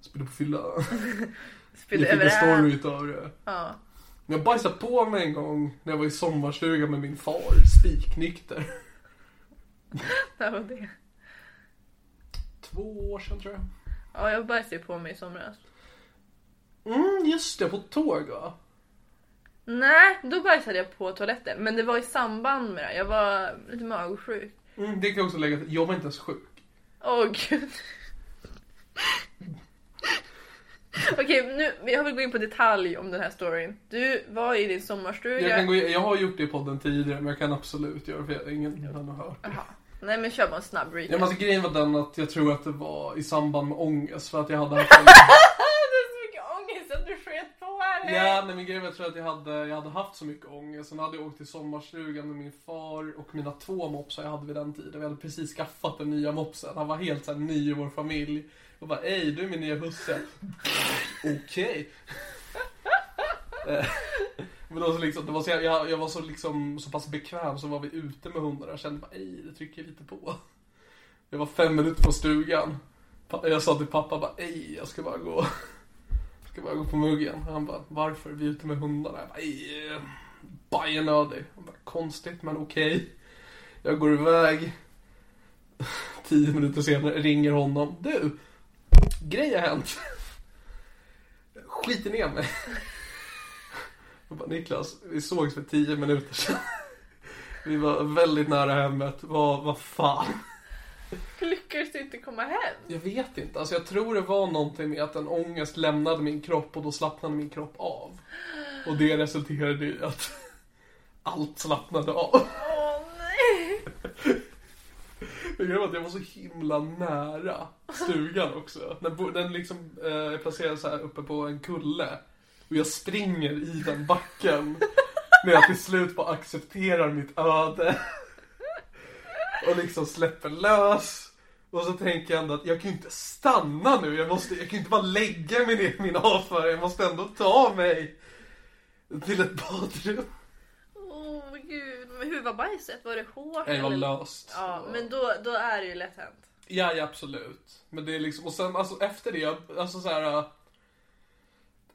Speaker 2: Spydde på [LAUGHS] fyllan.
Speaker 1: Spydde
Speaker 2: jag fick en story
Speaker 1: överallt.
Speaker 2: utav det.
Speaker 1: Ja.
Speaker 2: Jag bajsade på mig en gång när jag var i sommarstugan med min far, spiknykter.
Speaker 1: Där var det.
Speaker 2: Två år sedan tror jag.
Speaker 1: Ja, jag bajsade ju på mig i somras.
Speaker 2: Mm, just det, på ett tåg va?
Speaker 1: Nej, då bajsade jag på toaletten. Men det var i samband med det. Jag var lite magsjuk.
Speaker 2: Mm, det kan jag också lägga till, jag var inte ens sjuk.
Speaker 1: Åh gud. [LAUGHS] Okej, nu, men jag vill gå in på detalj om den här storyn. Du var i din sommarstuga.
Speaker 2: Jag, kan gå, i- jag har gjort det i podden tidigare men jag kan absolut göra det för jag, ingen annan har hört det.
Speaker 1: Nej men kör bara en snabb
Speaker 2: Ja,
Speaker 1: recap.
Speaker 2: men alltså, grejen var den att jag tror att det var i samband med ångest för att jag hade haft
Speaker 1: Du har så mycket ångest att du sket på dig.
Speaker 2: Ja, nej, men grejen var att jag tror att jag hade, jag hade haft så mycket ångest. Sen hade jag åkt till sommarstugan med min far och mina två mopsar jag hade vid den tiden. Vi hade precis skaffat den nya mopsen. Han var helt såhär ny i vår familj. Och bara, ej du är min nya husse. Okej. [LAUGHS] Eh, Men då så liksom, det var så, jag- jag, jag var så, liksom, så pass bekväm så var vi ute med hundarna. Jag kände bara, ej det trycker lite på. Jag var fem minuter från stugan. Pa- Jag sa till pappa bara, ej jag ska bara gå. Ska bara gå på muggen. Han bara, varför? Vi är ute med hundarna. Jag bara, "Ej, eh, bajenödig. Han bara, konstigt men okej. Jag går iväg. [LAUGHS] Tio minuter senare ringer honom. Du! Grej har hänt. [LAUGHS] Skiter ner mig. [LAUGHS] Jag bara, Niklas, vi sågs för tio minuter sedan. [LAUGHS] Vi var väldigt nära hemmet. Vad, vad fan?
Speaker 1: Lyckades du inte komma hem?
Speaker 2: Jag vet inte. Alltså jag tror det var någonting med att en ångest lämnade min kropp och då slappnade min kropp av. Och det resulterade i att [LAUGHS] allt slappnade av.
Speaker 1: Åh nej.
Speaker 2: Jag grejen var att jag var så himla nära stugan också. Den, bo- den liksom eh, placerades så här uppe på en kulle. Och jag springer i den backen. När jag till slut bara accepterar mitt öde. Och liksom släpper lös. Och så tänker jag ändå att jag kan ju inte stanna nu. Jag, måste, jag kan ju inte bara lägga mig ner i min avföring. Jag måste ändå ta mig till ett badrum.
Speaker 1: Åh oh, gud. Men hur var bajset? Var det hårt?
Speaker 2: Nej, det var
Speaker 1: eller?
Speaker 2: löst.
Speaker 1: Ja, men då, då är det ju lätt hänt.
Speaker 2: Ja, ja absolut. Men det är liksom, och sen alltså efter det, alltså så här. äh,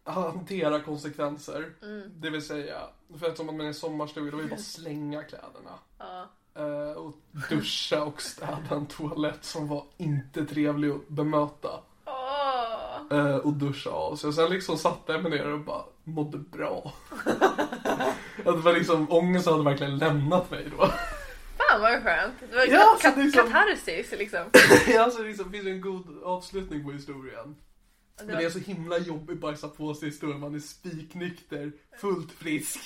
Speaker 2: hantera konsekvenser. Det vill säga, för att som man är i en sommarstuga, då är det bara att slänga kläderna.
Speaker 1: Ja.
Speaker 2: Eh, och duscha och städa en toalett som var inte trevlig att bemöta.
Speaker 1: Åh!
Speaker 2: Eh, och duscha av sig. Och sen liksom satte jag mig ner och bara mådde bra. att det var liksom, ångesten hade verkligen lämnat mig då.
Speaker 1: Fan vad skönt. Det var
Speaker 2: Ja,
Speaker 1: ja,
Speaker 2: så liksom-
Speaker 1: katarsis liksom.
Speaker 2: alltså det liksom, finns ju en god avslutning på historien.
Speaker 1: Alltså,
Speaker 2: Men det är så himla jobbig bajsa på sig historia. Man är spiknykter, fullt frisk.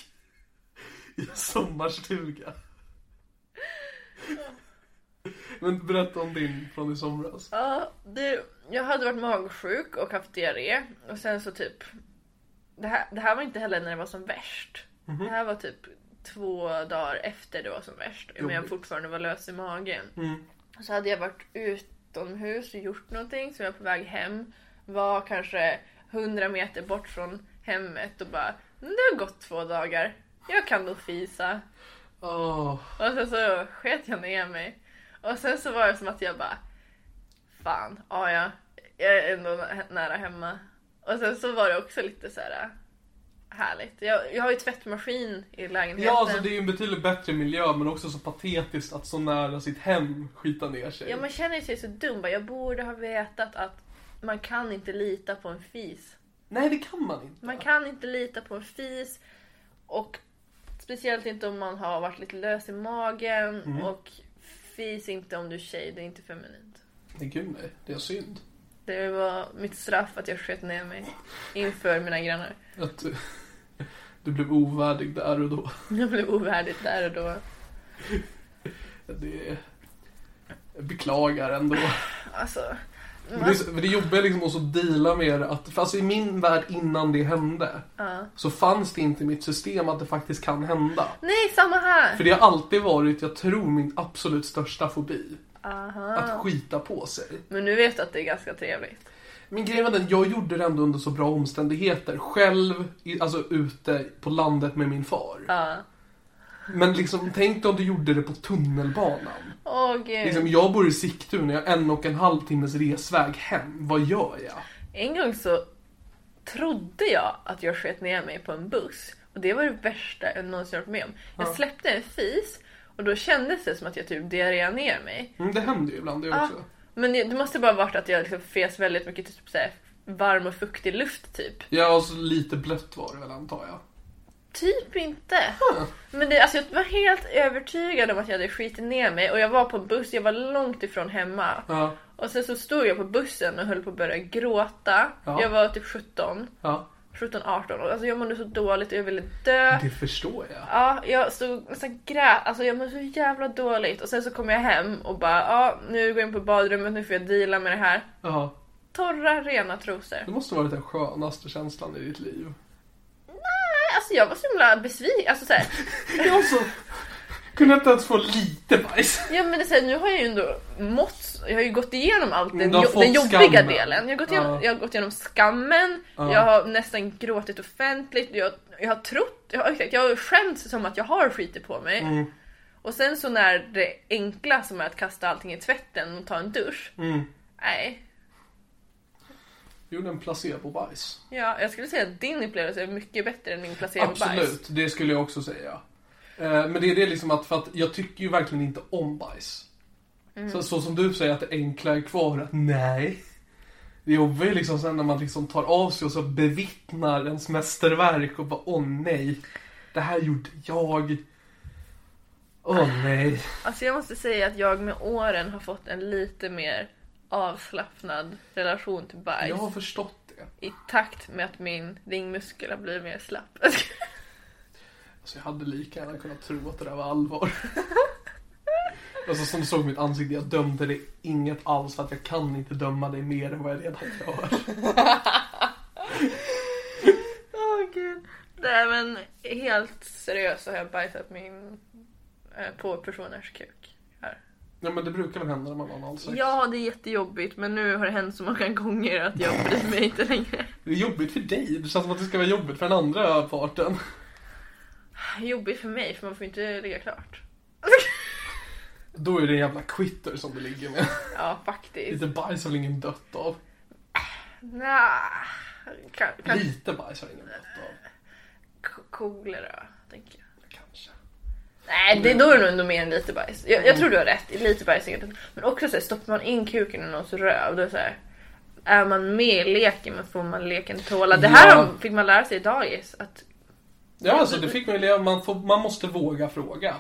Speaker 2: I en sommarstuga. Men berätta om din från i somras.
Speaker 1: Ja, det, jag hade varit magsjuk och haft diarré och sen så typ det här, det här var inte heller när det var som värst.
Speaker 2: Mhm.
Speaker 1: Det här var typ två dagar efter det var som värst. Men jag
Speaker 2: Jobbigt.
Speaker 1: fortfarande var lös i magen.
Speaker 2: Mm.
Speaker 1: Och Så hade jag varit utomhus och gjort någonting så jag var på väg hem. Var kanske 100 meter bort från hemmet och bara "Mm, Det har gått två dagar. Jag kan nog fisa.
Speaker 2: Åh,
Speaker 1: Och sen så sket jag ner mig. Och sen så var det som att jag bara, fan, ja ja, jag är ändå nä- nära hemma. Och sen så var det också lite så här härligt. Jag, jag har ju tvättmaskin i lägenheten.
Speaker 2: Ja, alltså det är ju en betydligt bättre miljö men också så patetiskt att så nära sitt hem skita ner sig.
Speaker 1: Ja, man känner sig så dum. Bara, Jag borde ha vetat att man kan inte lita på en fis.
Speaker 2: Nej, det kan man inte.
Speaker 1: Man kan inte lita på en fis. Och speciellt inte om man har varit lite lös i magen.
Speaker 2: Mm.
Speaker 1: Och fis inte om du är tjej, det är inte feminint.
Speaker 2: Nej, gud nej. Det är synd.
Speaker 1: Det var mitt straff att jag sköt ner mig inför mina grannar.
Speaker 2: Att du, du blev ovärdig där och då.
Speaker 1: Jag blev ovärdigt där och då.
Speaker 2: Det är... Jag beklagar ändå.
Speaker 1: Alltså,
Speaker 2: Men det, är så- men det jobbiga är liksom också att deala med att, för alltså i min värld innan det hände så fanns det inte i mitt system att det faktiskt kan hända.
Speaker 1: nej samma här!
Speaker 2: För det har alltid varit, jag tror, min absolut största fobi. Att skita på sig.
Speaker 1: Men nu vet du att det är ganska trevligt.
Speaker 2: Men grejen var den, jag gjorde det ändå under så bra omständigheter. Själv, i, alltså ute på landet med min far. Men liksom, tänk dig om du gjorde det på tunnelbanan.
Speaker 1: Åh gud.
Speaker 2: Liksom, jag bor i Sigtuna, jag har en och en halv timmes resväg hem. Vad gör jag?
Speaker 1: En gång så trodde jag att jag sköt ner mig på en buss. Och det var det värsta jag någonsin varit med om. Jag släppte en fis och då kändes det som att jag typ diarréade ner mig.
Speaker 2: Mm, det händer ju ibland det också.
Speaker 1: Men det det måste bara varit att jag liksom fes väldigt mycket typ så här, varm och fuktig luft typ.
Speaker 2: Ja, och så lite blött var det väl antar jag.
Speaker 1: Typ inte. Men det, alltså, jag var helt övertygad om att jag hade skitit ner mig och jag var på buss, jag var långt ifrån hemma.
Speaker 2: Ja,
Speaker 1: Och sen så stod jag på bussen och höll på att börja gråta.
Speaker 2: Ja.
Speaker 1: Jag var typ 17,
Speaker 2: ja.
Speaker 1: 17, 18 och alltså, jag mådde så dåligt och jag ville dö.
Speaker 2: Det förstår jag.
Speaker 1: Ja, jag stod nästan grät, alltså jag mådde så jävla dåligt. Och sen så kom jag hem och bara, ja nu går jag in på badrummet, nu får jag deala med det här.
Speaker 2: Ja.
Speaker 1: Torra, rena trosor.
Speaker 2: Det måste vara den skönaste känslan i ditt liv.
Speaker 1: Nej, alltså jag var så himla besviken. Alltså, så här,
Speaker 2: Jag så... Kunde inte ens få lite bajs.
Speaker 1: Ja men det är så här, nu har jag ju ändå mått, jag har ju gått igenom allt den,
Speaker 2: Mm, Du har
Speaker 1: jo,
Speaker 2: fått
Speaker 1: den jobbiga
Speaker 2: skammen.
Speaker 1: delen. Jag har, gått igenom,
Speaker 2: Ja.
Speaker 1: jag har gått igenom skammen,
Speaker 2: Ja.
Speaker 1: jag har nästan gråtit offentligt, jag, jag har trott, jag har, exakt, jag har skämts som att jag har skitit på mig.
Speaker 2: Mm.
Speaker 1: Och sen så när det enkla som är att kasta allting i tvätten och ta en dusch.
Speaker 2: Mm.
Speaker 1: Nej,
Speaker 2: Jag gjorde en placebo-bajs.
Speaker 1: ja, jag skulle säga att din upplevelse är mycket bättre än min placebo-bajs.
Speaker 2: Absolut, det skulle jag också säga. Eh, Men det är det liksom att, för att jag tycker ju verkligen inte om bajs. Så, så som du säger att det enkla är kvar, att nej. Det jobbar ju liksom sen när man liksom tar av sig och så bevittnar ens mästerverk och bara åh nej. Det här gjorde jag. Åh nej.
Speaker 1: Alltså jag måste säga att jag med åren har fått en lite mer avslappnad relation till bajs.
Speaker 2: Jag har förstått det.
Speaker 1: i takt med att min ringmuskel har blivit mer
Speaker 2: [LAUGHS]
Speaker 1: slapp.
Speaker 2: Alltså jag hade lika gärna kunnat tro att det där var [LAUGHS] allvar. Alltså som du såg mitt ansikte, jag dömde dig inget alls för att jag kan inte döma dig mer än vad jag redan gör.
Speaker 1: Åh gud. Nej men helt seriöst så har jag bajsat min eh, på personers kuk. Här.
Speaker 2: Ja men det brukar väl hända när man har analsex?
Speaker 1: Ja det är jättejobbigt men nu har det hänt så många gånger att jag bryr mig inte längre.
Speaker 2: Det är jobbigt för dig, det känns som att det ska vara jobbigt för den andra parten.
Speaker 1: Jobbigt för mig för man får inte ligga klart.
Speaker 2: Då är det en jävla quitter som du ligger med.
Speaker 1: Ja faktiskt.
Speaker 2: Lite bajs har väl ingen dött av.
Speaker 1: Nja, kan, kan,
Speaker 2: Lite bajs har ingen mått av.
Speaker 1: k- kolera, tänker jag.
Speaker 2: Kanske.
Speaker 1: Nej,
Speaker 2: Mm.
Speaker 1: det, då är det nog ändå mer än lite bajs. Jag, jag tror du har rätt, lite bajs är inget. Men också så här, stoppar man in kuken i någons röv, då är det så här, är man med i leken men får man leken tåla. Det här
Speaker 2: Ja.
Speaker 1: har- fick man lära sig i dagis, att
Speaker 2: Ja, alltså det fick man ju leva. Man, får, man måste våga fråga.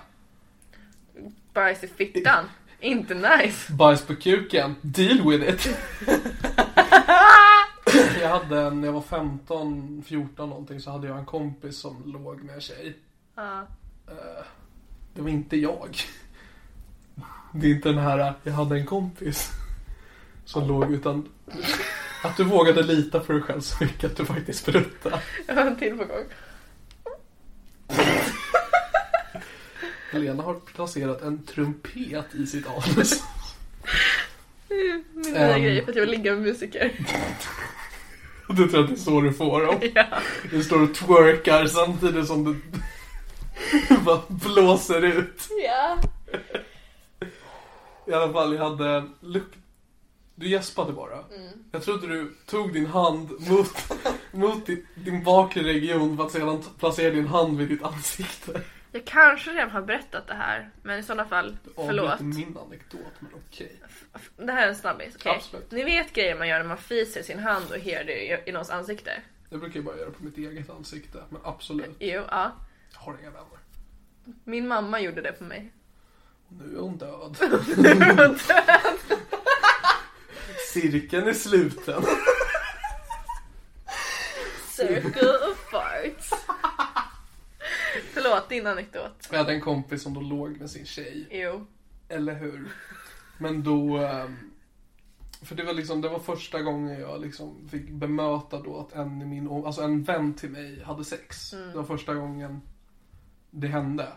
Speaker 1: bajs i fittan, [LAUGHS] inte nice.
Speaker 2: Bajs på kuken. Deal with it. jag hade en, när jag var 15, 14 någonting så hade jag en kompis som låg med en tjej.
Speaker 1: Ja.
Speaker 2: Eh, Det var inte jag. Det är inte den här, jag hade en kompis. Som låg utan... Att du vågade lita på dig själv så mycket att du faktiskt sprutade.
Speaker 1: [LAUGHS] Jag har en till på gång.
Speaker 2: Helena har placerat en trumpet i sitt anus.
Speaker 1: Min nya
Speaker 2: Ehm.
Speaker 1: grej för att jag vill ligga med
Speaker 2: [LAUGHS]
Speaker 1: musiker.
Speaker 2: Du tror att det är så du får dem.
Speaker 1: ja.
Speaker 2: Du står och twerkar samtidigt som du [LAUGHS] bara blåser ut.
Speaker 1: ja.
Speaker 2: I alla fall, jag hade lukt... Du gäspade bara. Jag trodde du tog din hand mot, mot din, din bakre region för att sedan t- placera din hand vid ditt ansikte.
Speaker 1: Jag kanske redan har berättat det här, men i sådana fall, förlåt.
Speaker 2: Avbryter min anekdot, men okej.
Speaker 1: Det här är en snabbis, okej?
Speaker 2: Absolut.
Speaker 1: Ni vet grejer man gör när man fiser i sin hand och hear det i, i någons ansikte?
Speaker 2: Jag brukar ju bara göra på mitt eget ansikte, men absolut.
Speaker 1: Jo, ja.
Speaker 2: Jag har inga vänner.
Speaker 1: Min mamma gjorde det på mig.
Speaker 2: Nu är hon död. [LAUGHS] Cirkeln är sluten.
Speaker 1: [LAUGHS] Circle of farts. [LAUGHS] Förlåt, din anekdot.
Speaker 2: Jag hade en kompis som då låg med sin tjej.
Speaker 1: Jo.
Speaker 2: Eller hur? Men då... ehm, För det var liksom, det var första gången jag liksom fick bemöta då att en, i min, o- alltså en vän till mig hade sex. Det var första gången det hände.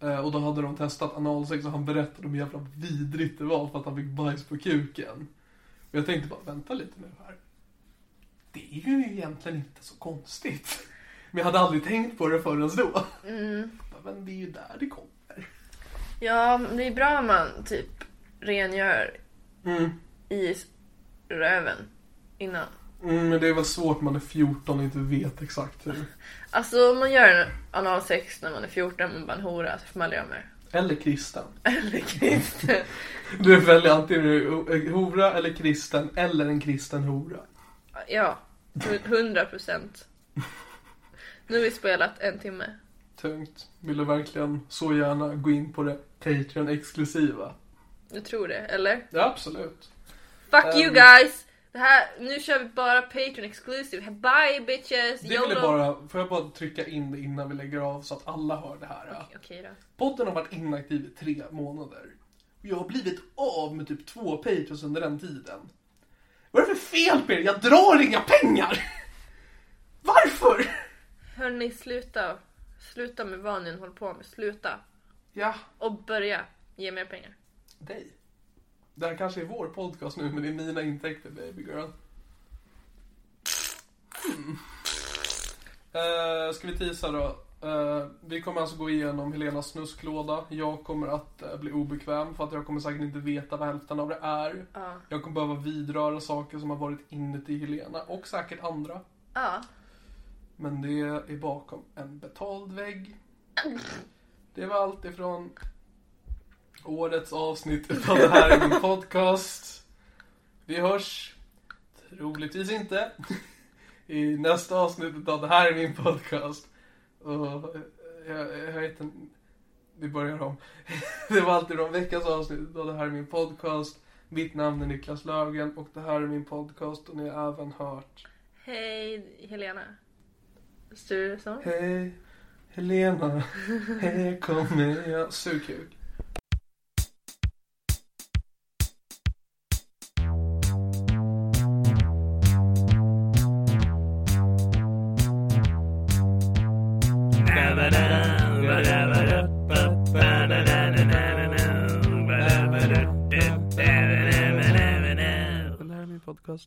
Speaker 2: Eh, Och då hade de testat analsex och han berättade hur jävla vidrigt det var för att han fick bajs på kuken. Och jag tänkte bara, vänta lite nu här. Det är ju egentligen inte så konstigt. Men jag hade aldrig tänkt på det förrän då. Men det är ju där det kommer.
Speaker 1: Ja, men det är bra om man typ rengör
Speaker 2: Mm.
Speaker 1: i s- röven innan.
Speaker 2: Mm, men det är väl svårt när man är 14 och inte vet exakt hur.
Speaker 1: Alltså om man gör analsex när man är 14 men bara en hora så får man aldrig göra mer.
Speaker 2: Eller kristen.
Speaker 1: Eller kristen.
Speaker 2: [LAUGHS] Du väljer antingen en hora eller kristen, eller en kristen hora.
Speaker 1: [LAUGHS] Ja, 100 procent. Nu har vi spelat en timme.
Speaker 2: Tungt. Vill du verkligen så gärna gå in på det Patreon-exklusiva?
Speaker 1: Jag tror det, eller?
Speaker 2: Ja, absolut.
Speaker 1: Fuck
Speaker 2: Ehm.
Speaker 1: you guys! Det här, nu kör vi bara Patreon exclusive. Bye bitches!
Speaker 2: Det vill jag bara, får jag bara trycka in det innan vi lägger av så att alla hör det här?
Speaker 1: Okej då.
Speaker 2: Podden har varit inaktiv i tre månader. Och jag har blivit av med typ två patrons under den tiden. Vad är det för fel på er? Jag drar inga pengar! [LAUGHS] Varför?
Speaker 1: Hörni, sluta. Sluta med vad ni än håller på med. Sluta.
Speaker 2: Ja,
Speaker 1: Och börja ge mer pengar.
Speaker 2: dig. Det här kanske är vår podcast nu, men det är mina intäkter, baby girl. Mm. Eh, ska vi tisa då? Eh, vi kommer alltså gå igenom Helenas snusklåda. Jag kommer att eh, bli obekväm för att jag kommer säkert inte veta vad hälften av det är.
Speaker 1: Ja.
Speaker 2: Jag kommer behöva vidröra saker som har varit inuti Helena och säkert andra.
Speaker 1: Ja.
Speaker 2: Men det är bakom en betald vägg. Det var allt ifrån årets avsnitt utav det här är min podcast. Vi hörs, troligtvis inte, i nästa avsnitt utav det här är min podcast. Och eh, jag, jag vet inte, vi börjar om. [LAUGHS] Det var allt ifrån veckans avsnitt utav det här är min podcast. Mitt namn är Niklas Löfgren och det här är min podcast och ni har även hört
Speaker 1: Hej Helena. Sturesson.
Speaker 2: Hej Helena, här kommer jag. Sugkuk. podcast.